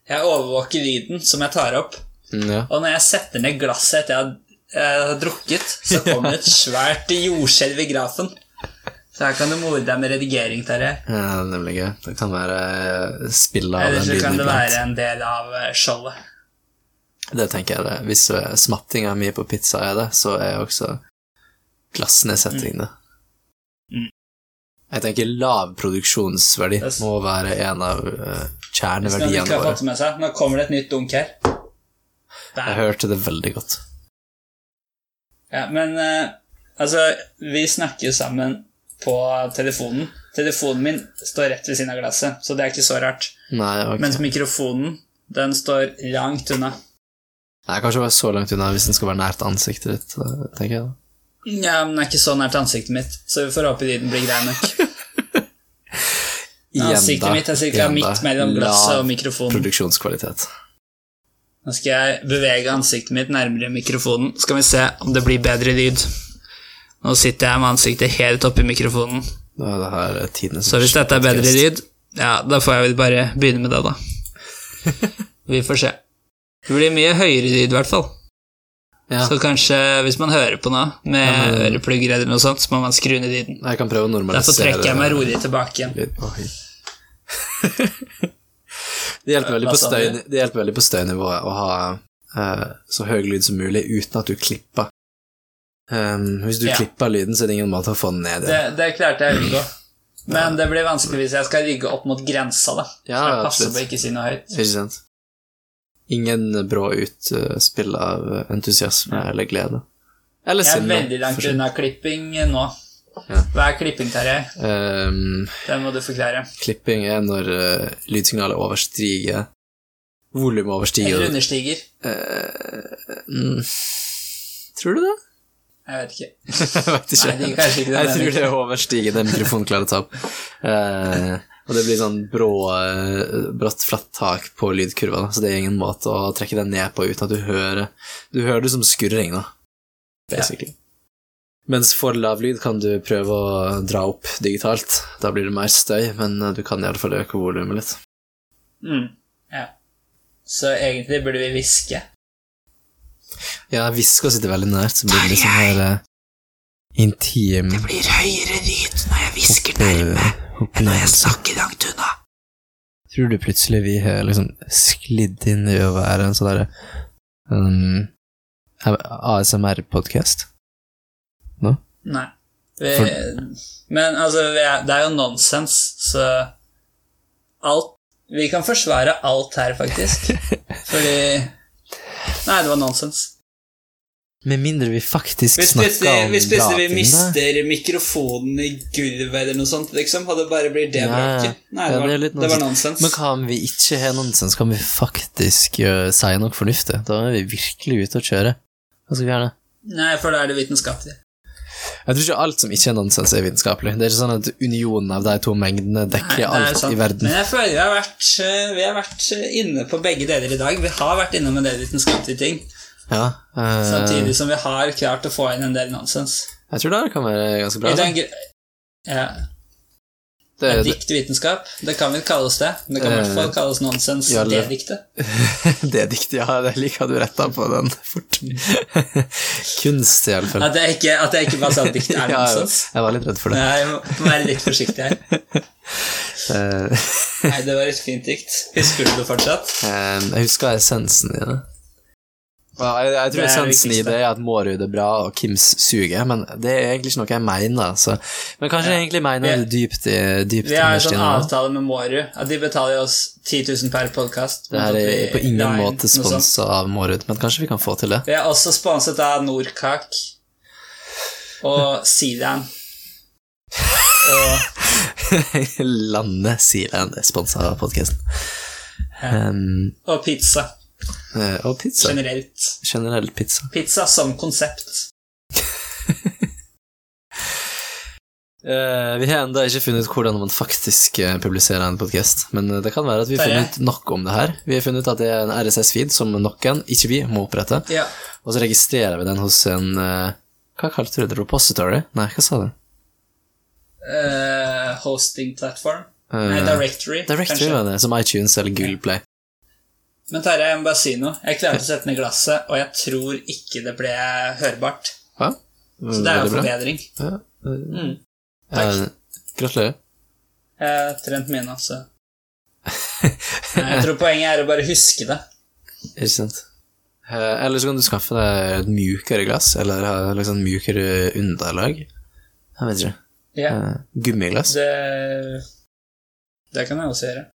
Speaker 1: Jeg overvåker lyden som jeg tar opp.
Speaker 2: Mm, ja.
Speaker 1: Og når jeg setter ned glasset etter jeg har- jeg har drukket, så kommer det et svært jordskjelv i grafen. Så her kan du more deg med redigering, Terje.
Speaker 2: ja, nemlig gøy. Det kan være eh, spill av
Speaker 1: Eller
Speaker 2: den
Speaker 1: så kan
Speaker 2: lyden
Speaker 1: det
Speaker 2: iblant.
Speaker 1: være en del av eh, showet.
Speaker 2: Det tenker jeg det. Hvis eh, smattinga mi på pizza er det, så er jeg også glassnedsetting det.
Speaker 1: Mm.
Speaker 2: Jeg tenker lav produksjonsverdi
Speaker 1: Det s-
Speaker 2: må være en av eh,
Speaker 1: Hvis man ikke
Speaker 2: kjerneverdiene
Speaker 1: har
Speaker 2: våre.
Speaker 1: fått det med seg. Nå kommer det et nytt dunk her.
Speaker 2: Jeg
Speaker 1: Der.
Speaker 2: hørte det veldig godt.
Speaker 1: Ja, men eh, altså Vi snakker jo sammen på telefonen. Telefonen min står rett ved siden av glasset, så det er ikke så rart.
Speaker 2: Nei, ok.
Speaker 1: Mens mikrofonen, den står langt unna.
Speaker 2: Nei, kanskje være så langt unna hvis den skal være nært ansiktet ditt, eh, tenker jeg. da.
Speaker 1: Ja, men den er ikke så nært ansiktet mitt, så vi får håpe lyden blir grei nok.
Speaker 2: Igjen
Speaker 1: Ansiktet
Speaker 2: da,
Speaker 1: mitt er cirka
Speaker 2: igjen da.
Speaker 1: midt mellom glasset og
Speaker 2: Lav
Speaker 1: mikrofonen.
Speaker 2: Produksjonskvalitet.
Speaker 1: Nå skal jeg bevege ansiktet mitt nærmere mikrofonen, så skal vi se om det blir bedre lyd. Nå sitter jeg med ansiktet helt oppi mikrofonen,
Speaker 2: Da er det her eh, tidenes
Speaker 1: så hvis dette er bedre lyd, ja, da får jeg vel bare begynne med det, da. Vi får se. Det blir mye høyere lyd, i hvert fall.
Speaker 2: Ja,
Speaker 1: Så kanskje, hvis man hører på noe med
Speaker 2: Ja, men-
Speaker 1: øreplugger eller noe sånt, så må man skru ned lyden.
Speaker 2: jeg kan prøve å
Speaker 1: Derfor
Speaker 2: normalisere
Speaker 1: trekker jeg meg rolig tilbake igjen.
Speaker 2: Lyd. Oi. det, hjelper veldig på
Speaker 1: Hva sa du?
Speaker 2: støy, det hjelper veldig på støynivået å ha eh, så høy lyd som mulig uten at du klipper. Ehm, hvis du
Speaker 1: Ja.
Speaker 2: klipper lyden, så er det ingen måte å få den ned
Speaker 1: Det,
Speaker 2: igjen.
Speaker 1: det klarte jeg å unngå. Men det blir vanskelig hvis jeg skal rygge opp mot grensa, da. Så
Speaker 2: Ja,
Speaker 1: jeg passer
Speaker 2: absolutt.
Speaker 1: på å ikke si noe høyt.
Speaker 2: Ikke sant? Ingen brå utspill av entusiasme eller glede. Eller
Speaker 1: Jeg er
Speaker 2: sinne.
Speaker 1: veldig langt
Speaker 2: for så-
Speaker 1: unna klipping nå.
Speaker 2: Ja.
Speaker 1: Hva er klipping, Terje?
Speaker 2: Ehm,
Speaker 1: Det må du forklare.
Speaker 2: klipping er når eh, lydsignalet overstiger Volumet
Speaker 1: Eller
Speaker 2: overstiger
Speaker 1: understiger.
Speaker 2: Eh, mm, Tror du det?
Speaker 1: Jeg vet ikke.
Speaker 2: Jeg vet ikke.
Speaker 1: Nei, det er kanskje ikke det
Speaker 2: jeg tror
Speaker 1: meningen.
Speaker 2: det overstiger det mikrofonen klarer å ta opp. Eh, og det blir sånn brå, eh, brått flatt tak på lydkurva, da, så det er ingen måte å trekke den ned på uten at du hører Du hører det som skurring, da, basically. Mens for lav lyd kan du prøve å dra opp digitalt. Da blir det mer støy, men eh, du kan iallfall øke volumet litt.
Speaker 1: Mm. Ja. Så egentlig burde vi hviske.
Speaker 2: Ja, hviska sitter veldig nært, så blir det litt sånn her eh, intim
Speaker 1: blir høyere lyd når jeg
Speaker 2: Hoppe
Speaker 1: snakker langt unna.
Speaker 2: tror du plutselig vi har liksom sklidd inn i å være en sånn derre um, ASMR-podkast?
Speaker 1: Nei. Vi,
Speaker 2: For-
Speaker 1: Men altså, vi er, det er jo nonsens, så Alt Vi kan forsvare alt her, faktisk. Fordi Nei, det var nonsens.
Speaker 2: Med mindre vi faktisk
Speaker 1: Hvis
Speaker 2: snakker
Speaker 1: plutselig,
Speaker 2: om
Speaker 1: hvis plutselig vi
Speaker 2: bra ting, da.
Speaker 1: mister mikrofonen i gulvet eller noe sånt, liksom, og det bare blir det
Speaker 2: Ja,
Speaker 1: bråket Nei, det
Speaker 2: ja,
Speaker 1: var,
Speaker 2: det er
Speaker 1: det
Speaker 2: litt
Speaker 1: var nonsens.
Speaker 2: Men hva om vi ikke har nonsens? Kan vi faktisk eh, si noe fornuftig? Da er vi virkelig ute å kjøre. Hva skal vi gjøre da?
Speaker 1: Nei, for da er det vitenskapelig.
Speaker 2: Jeg tror ikke alt som ikke er nonsens, er vitenskapelig. Det er ikke sånn at unionen av de to mengdene
Speaker 1: Nei,
Speaker 2: dekker
Speaker 1: det er
Speaker 2: alt
Speaker 1: sant.
Speaker 2: i verden.
Speaker 1: Men jeg føler vi har, vært, eh, vi har vært eh, inne på begge deler i dag. Vi har vært inne med en del vitenskapelige ting,
Speaker 2: Ja, eh,
Speaker 1: samtidig som vi har klart å få inn en del nonsens.
Speaker 2: jeg tror det her kan være ganske bra.
Speaker 1: I
Speaker 2: da. Eh,
Speaker 1: den gr- ja,
Speaker 2: Det, Eh, det,
Speaker 1: dikt vitenskap, det kan vel kalles det. men Det kan i hvert fall kalles nonsens,
Speaker 2: ja,
Speaker 1: det
Speaker 2: eller-
Speaker 1: diktet.
Speaker 2: det diktet, ja, det liker du retta på den fort. Kunst, i alle fall.
Speaker 1: At jeg ikke, at jeg ikke bare sa at dikt
Speaker 2: Ja,
Speaker 1: er
Speaker 2: jeg
Speaker 1: nonsens.
Speaker 2: jeg var litt redd for det.
Speaker 1: Nei, jeg må være litt forsiktig her.
Speaker 2: Eh,
Speaker 1: Nei, det var et fint dikt. Husker du det fortsatt?
Speaker 2: Ehm, jeg husker essensen i det. Ja, jeg, jeg tror
Speaker 1: Det er det
Speaker 2: essensen i
Speaker 1: viktigste.
Speaker 2: det er at Mårud er bra, og Kims suger, men det er egentlig ikke noe jeg mener. Så. Men kanskje jeg egentlig mener
Speaker 1: Vi-
Speaker 2: det dypt, i, dypt
Speaker 1: Vi har en
Speaker 2: innerst
Speaker 1: sånn
Speaker 2: inne.
Speaker 1: avtale med Mårud at de betaler oss 10 000 per podkast.
Speaker 2: Det her er på ingen måte sponsa av Mårud, men kanskje vi kan få til det.
Speaker 1: Vi er også sponset av Nordkak og Sidan. Og
Speaker 2: Landet Sealand er sponsa av podkasten.
Speaker 1: og pizza
Speaker 2: Um, eh, og pizza.
Speaker 1: generelt.
Speaker 2: Generell pizza.
Speaker 1: Pizza som konsept.
Speaker 2: Eh, vi har ennå ikke funnet ut hvordan man faktisk eh, publiserer en podkast, men eh, det kan være at vi har
Speaker 1: Terje?
Speaker 2: funnet ut nok om det her. Vi har funnet ut at det er en RSS-feed som noen, ikke vi, må opprette,
Speaker 1: Ja.
Speaker 2: og så registrerer vi den hos en eh, Hva kalte du det? Repository? Nei, hva sa du?
Speaker 1: eh, hosting platform.
Speaker 2: Eh,
Speaker 1: Nei, directory.
Speaker 2: Directory,
Speaker 1: kanskje.
Speaker 2: var det, som iTunes eller Google Play.
Speaker 1: Men Terje, jeg må bare si noe. Jeg klarte å sette den i glasset, og jeg tror ikke det ble hørbart.
Speaker 2: Ja,
Speaker 1: Så det er jo
Speaker 2: veldig bra.
Speaker 1: forbedring.
Speaker 2: Ja, eh,
Speaker 1: Mm. Takk.
Speaker 2: eh, gratulerer.
Speaker 1: Jeg har trent mine, altså. Nei, Jeg tror poenget er å bare huske det.
Speaker 2: Ikke sant. Eh, eller så kan du skaffe deg et mjukere glass, eller ha liksom mjukere underlag. Jeg vet ikke.
Speaker 1: Ja,
Speaker 2: Eh, gummiglass.
Speaker 1: det, det kan jeg også gjøre.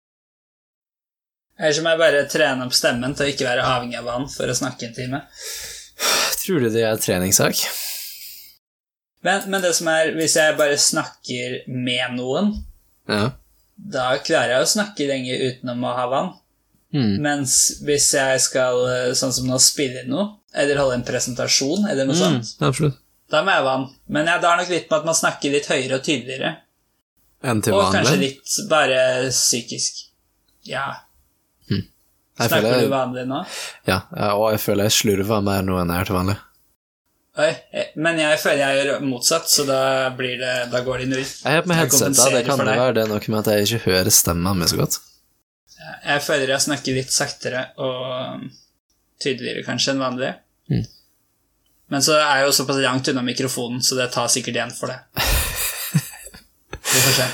Speaker 1: Ellers må jeg bare trene opp stemmen til å ikke være avhengig av vann for å snakke en time.
Speaker 2: Tror du det er treningssak?
Speaker 1: Men, men det som er, hvis jeg bare snakker med noen,
Speaker 2: Ja.
Speaker 1: da klarer jeg å snakke lenge utenom å ha vann.
Speaker 2: Mm.
Speaker 1: Mens hvis jeg skal, eh, sånn som nå, spille inn noe, eller holde en presentasjon, eller
Speaker 2: Mm.
Speaker 1: noe sånt,
Speaker 2: absolutt.
Speaker 1: da må jeg ha vann. Men ja, det har nok litt med at man snakker litt høyere og tydeligere.
Speaker 2: Enn til
Speaker 1: Og kanskje
Speaker 2: vanlig?
Speaker 1: litt bare psykisk. Ja.
Speaker 2: Mm. Jeg
Speaker 1: Snakker
Speaker 2: føler-
Speaker 1: du vanlig nå?
Speaker 2: Ja, og jeg føler jeg slurver mer nå enn jeg gjør til vanlig.
Speaker 1: Oi, eh, men jeg føler jeg gjør motsatt, så da, blir det, da går det i null.
Speaker 2: Jeg har på meg
Speaker 1: Jeg
Speaker 2: headset, da.
Speaker 1: kompenserer
Speaker 2: Det kan
Speaker 1: for
Speaker 2: det
Speaker 1: deg.
Speaker 2: være det er noe med at jeg ikke hører stemmen min så godt.
Speaker 1: Jeg føler jeg snakker litt saktere og um, tydeligere kanskje enn vanlig.
Speaker 2: Mm.
Speaker 1: Men så er jeg jo såpass langt unna mikrofonen, så det tar sikkert igjen for det. Vi får se.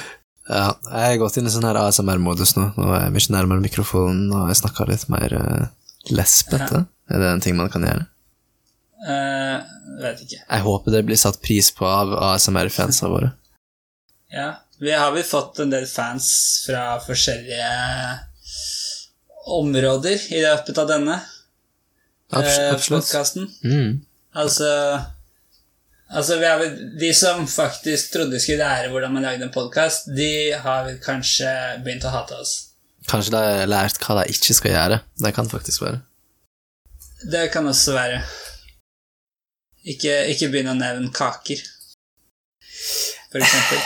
Speaker 2: Ja, jeg har gått inn i sånn her ASMR-modus nå. Nå er jeg mye nærmere mikrofonen, og jeg snakker litt mer eh, lespete. Er det en ting man kan gjøre?
Speaker 1: Eh, vet ikke.
Speaker 2: Jeg håper det blir satt pris på av ASMR-fansa våre.
Speaker 1: Ja. Vi har vel fått en del fans fra forskjellige områder i løpet av denne
Speaker 2: Abs
Speaker 1: eh,
Speaker 2: absolutt.
Speaker 1: podkasten.
Speaker 2: Mm.
Speaker 1: Altså Altså, vi er vel, De som faktisk trodde skulle lære hvordan man lagde en podkast, de har vel kanskje begynt å hate oss.
Speaker 2: Kanskje de har lært hva de ikke skal gjøre. Det kan faktisk være.
Speaker 1: Det kan også være. Ikke, ikke begynn å nevne kaker, for eksempel.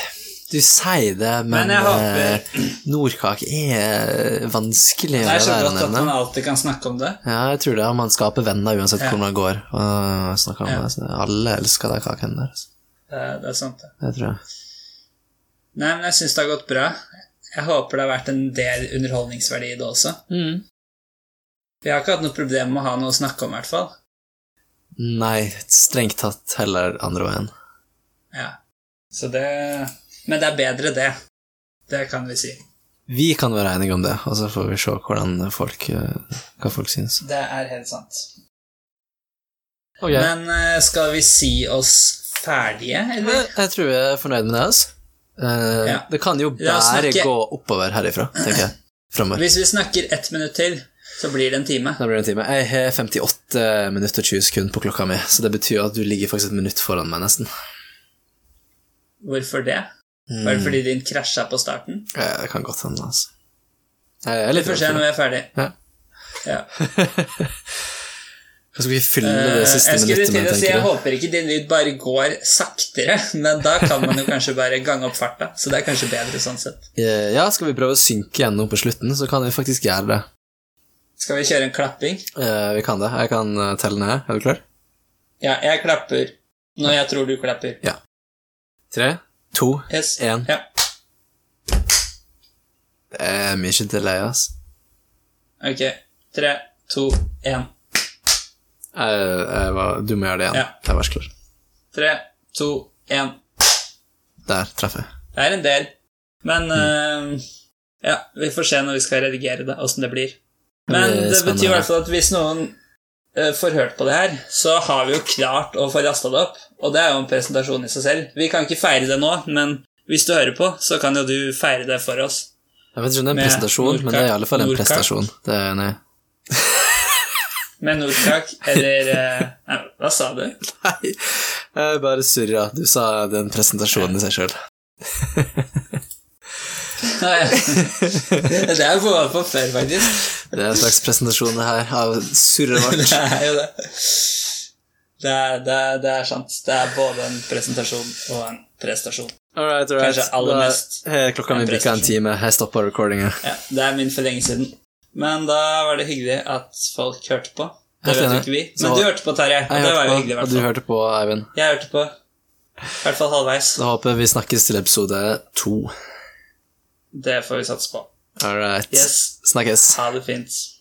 Speaker 2: Du sier det, men,
Speaker 1: Men jeg
Speaker 2: eh,
Speaker 1: håper
Speaker 2: Nordkak er vanskelig å
Speaker 1: Det er så
Speaker 2: være
Speaker 1: godt at man
Speaker 2: nevne.
Speaker 1: alltid kan snakke om det.
Speaker 2: Ja, jeg tror det. og Man skaper venner uansett
Speaker 1: Ja.
Speaker 2: hvor man går. Og snakker om
Speaker 1: Ja.
Speaker 2: det. så Alle elsker de kakene der. altså.
Speaker 1: Det, er- det er sant, det.
Speaker 2: Det tror jeg.
Speaker 1: Nei, men jeg syns det har gått bra. Jeg håper det har vært en del underholdningsverdi i det også. Vi har ikke hatt noe problem med å ha noe å snakke om, i hvert fall.
Speaker 2: Nei, strengt tatt heller andre veien.
Speaker 1: Ja. Så det Men det er bedre, det. Det kan vi si.
Speaker 2: Vi kan være enige om det, og så får vi se hvordan folk, eh, hva folk syns.
Speaker 1: Det er helt sant.
Speaker 2: Ok.
Speaker 1: Men eh, skal vi si oss ferdige, eller?
Speaker 2: Jeg, jeg tror jeg er fornøyd med det. Altså. Eh,
Speaker 1: Ja.
Speaker 2: Det kan jo
Speaker 1: La oss
Speaker 2: bare
Speaker 1: snakke.
Speaker 2: gå oppover herifra, tenker jeg. Fremover.
Speaker 1: Hvis vi snakker ett minutt til, så blir det en time.
Speaker 2: Da blir det en time. Jeg har 58 minutter og 20 sekunder på klokka mi, så det betyr at du ligger faktisk et minutt foran meg, nesten.
Speaker 1: Hvorfor det?
Speaker 2: Mm.
Speaker 1: Var det fordi din krasja på starten?
Speaker 2: Eh, Det kan godt hende, altså. Jeg er
Speaker 1: Vi
Speaker 2: litt
Speaker 1: får se
Speaker 2: redd for
Speaker 1: når
Speaker 2: det.
Speaker 1: vi er ferdig.
Speaker 2: Ja.
Speaker 1: Ja.
Speaker 2: Skal vi fylle
Speaker 1: Eh,
Speaker 2: det siste
Speaker 1: jeg skulle
Speaker 2: minuttet
Speaker 1: til
Speaker 2: med,
Speaker 1: å si jeg
Speaker 2: tenker jeg?
Speaker 1: håper ikke din lyd bare går saktere, men da kan man jo kanskje bare gange opp farta, så det er kanskje bedre sånn sett.
Speaker 2: Eh, Ja, skal vi prøve å synke igjen nå på slutten, så kan vi faktisk gjøre det.
Speaker 1: Skal vi kjøre en klapping?
Speaker 2: Eh, Vi kan det. Jeg kan eh, telle ned. Er du klar?
Speaker 1: Ja, jeg klapper når jeg tror du klapper.
Speaker 2: Tre, to,
Speaker 1: Yes.
Speaker 2: én.
Speaker 1: Ja.
Speaker 2: Det er mye delay, ass.
Speaker 1: Ok. Tre, to, én.
Speaker 2: Jeg, jeg var, du må gjøre det igjen.
Speaker 1: Ja.
Speaker 2: Jeg var så klar.
Speaker 1: Tre, to, én.
Speaker 2: Der traff jeg.
Speaker 1: Det er en del, men eh, ja, vi får se når vi skal redigere det, åssen det blir. Men
Speaker 2: blir
Speaker 1: det
Speaker 2: spennende.
Speaker 1: betyr i hvert fall at hvis noen eh, får hørt på det her, så har vi jo klart å få rasta det opp, og det er jo en presentasjon i seg selv. Vi kan ikke feire det nå, men hvis du hører på, så kan jo du feire det for oss.
Speaker 2: Jeg vet ikke om det er en
Speaker 1: Med
Speaker 2: prestasjon, men det er i alle fall en
Speaker 1: Nordkart.
Speaker 2: prestasjon. Det er, nei.
Speaker 1: Med Nordkak, eller eh, nei, Hva sa du?
Speaker 2: nei, jeg er bare surra. Du sa det er en presentasjon i seg sjøl.
Speaker 1: Nei, det er jo på hva på før, faktisk.
Speaker 2: Det er en slags presentasjon, det her, av surret vårt.
Speaker 1: Det er jo det. Det er, det, er, det er sant. Det er både en presentasjon og en prestasjon.
Speaker 2: All right, all
Speaker 1: Kanskje aller mest
Speaker 2: Da har Eh, klokka mi
Speaker 1: en
Speaker 2: bikka en
Speaker 1: prestasjon.
Speaker 2: time. Jeg stoppa recordinga.
Speaker 1: Ja, det er min for lenge siden. Men da var det hyggelig at folk hørte på. Det
Speaker 2: Helt
Speaker 1: vet jo
Speaker 2: enig.
Speaker 1: ikke vi.
Speaker 2: Så-
Speaker 1: Men du hørte på, Tarjei. Og
Speaker 2: Jeg
Speaker 1: det var jo
Speaker 2: hørte
Speaker 1: hyggelig, i
Speaker 2: på, og
Speaker 1: hvert
Speaker 2: du
Speaker 1: fall.
Speaker 2: hørte på, Eivind.
Speaker 1: Jeg hørte på. I hvert fall halvveis.
Speaker 2: Da håper jeg vi snakkes til episode to.
Speaker 1: Det får vi satse på.
Speaker 2: All right.
Speaker 1: Yes.
Speaker 2: Snakkes.
Speaker 1: Ha det fint.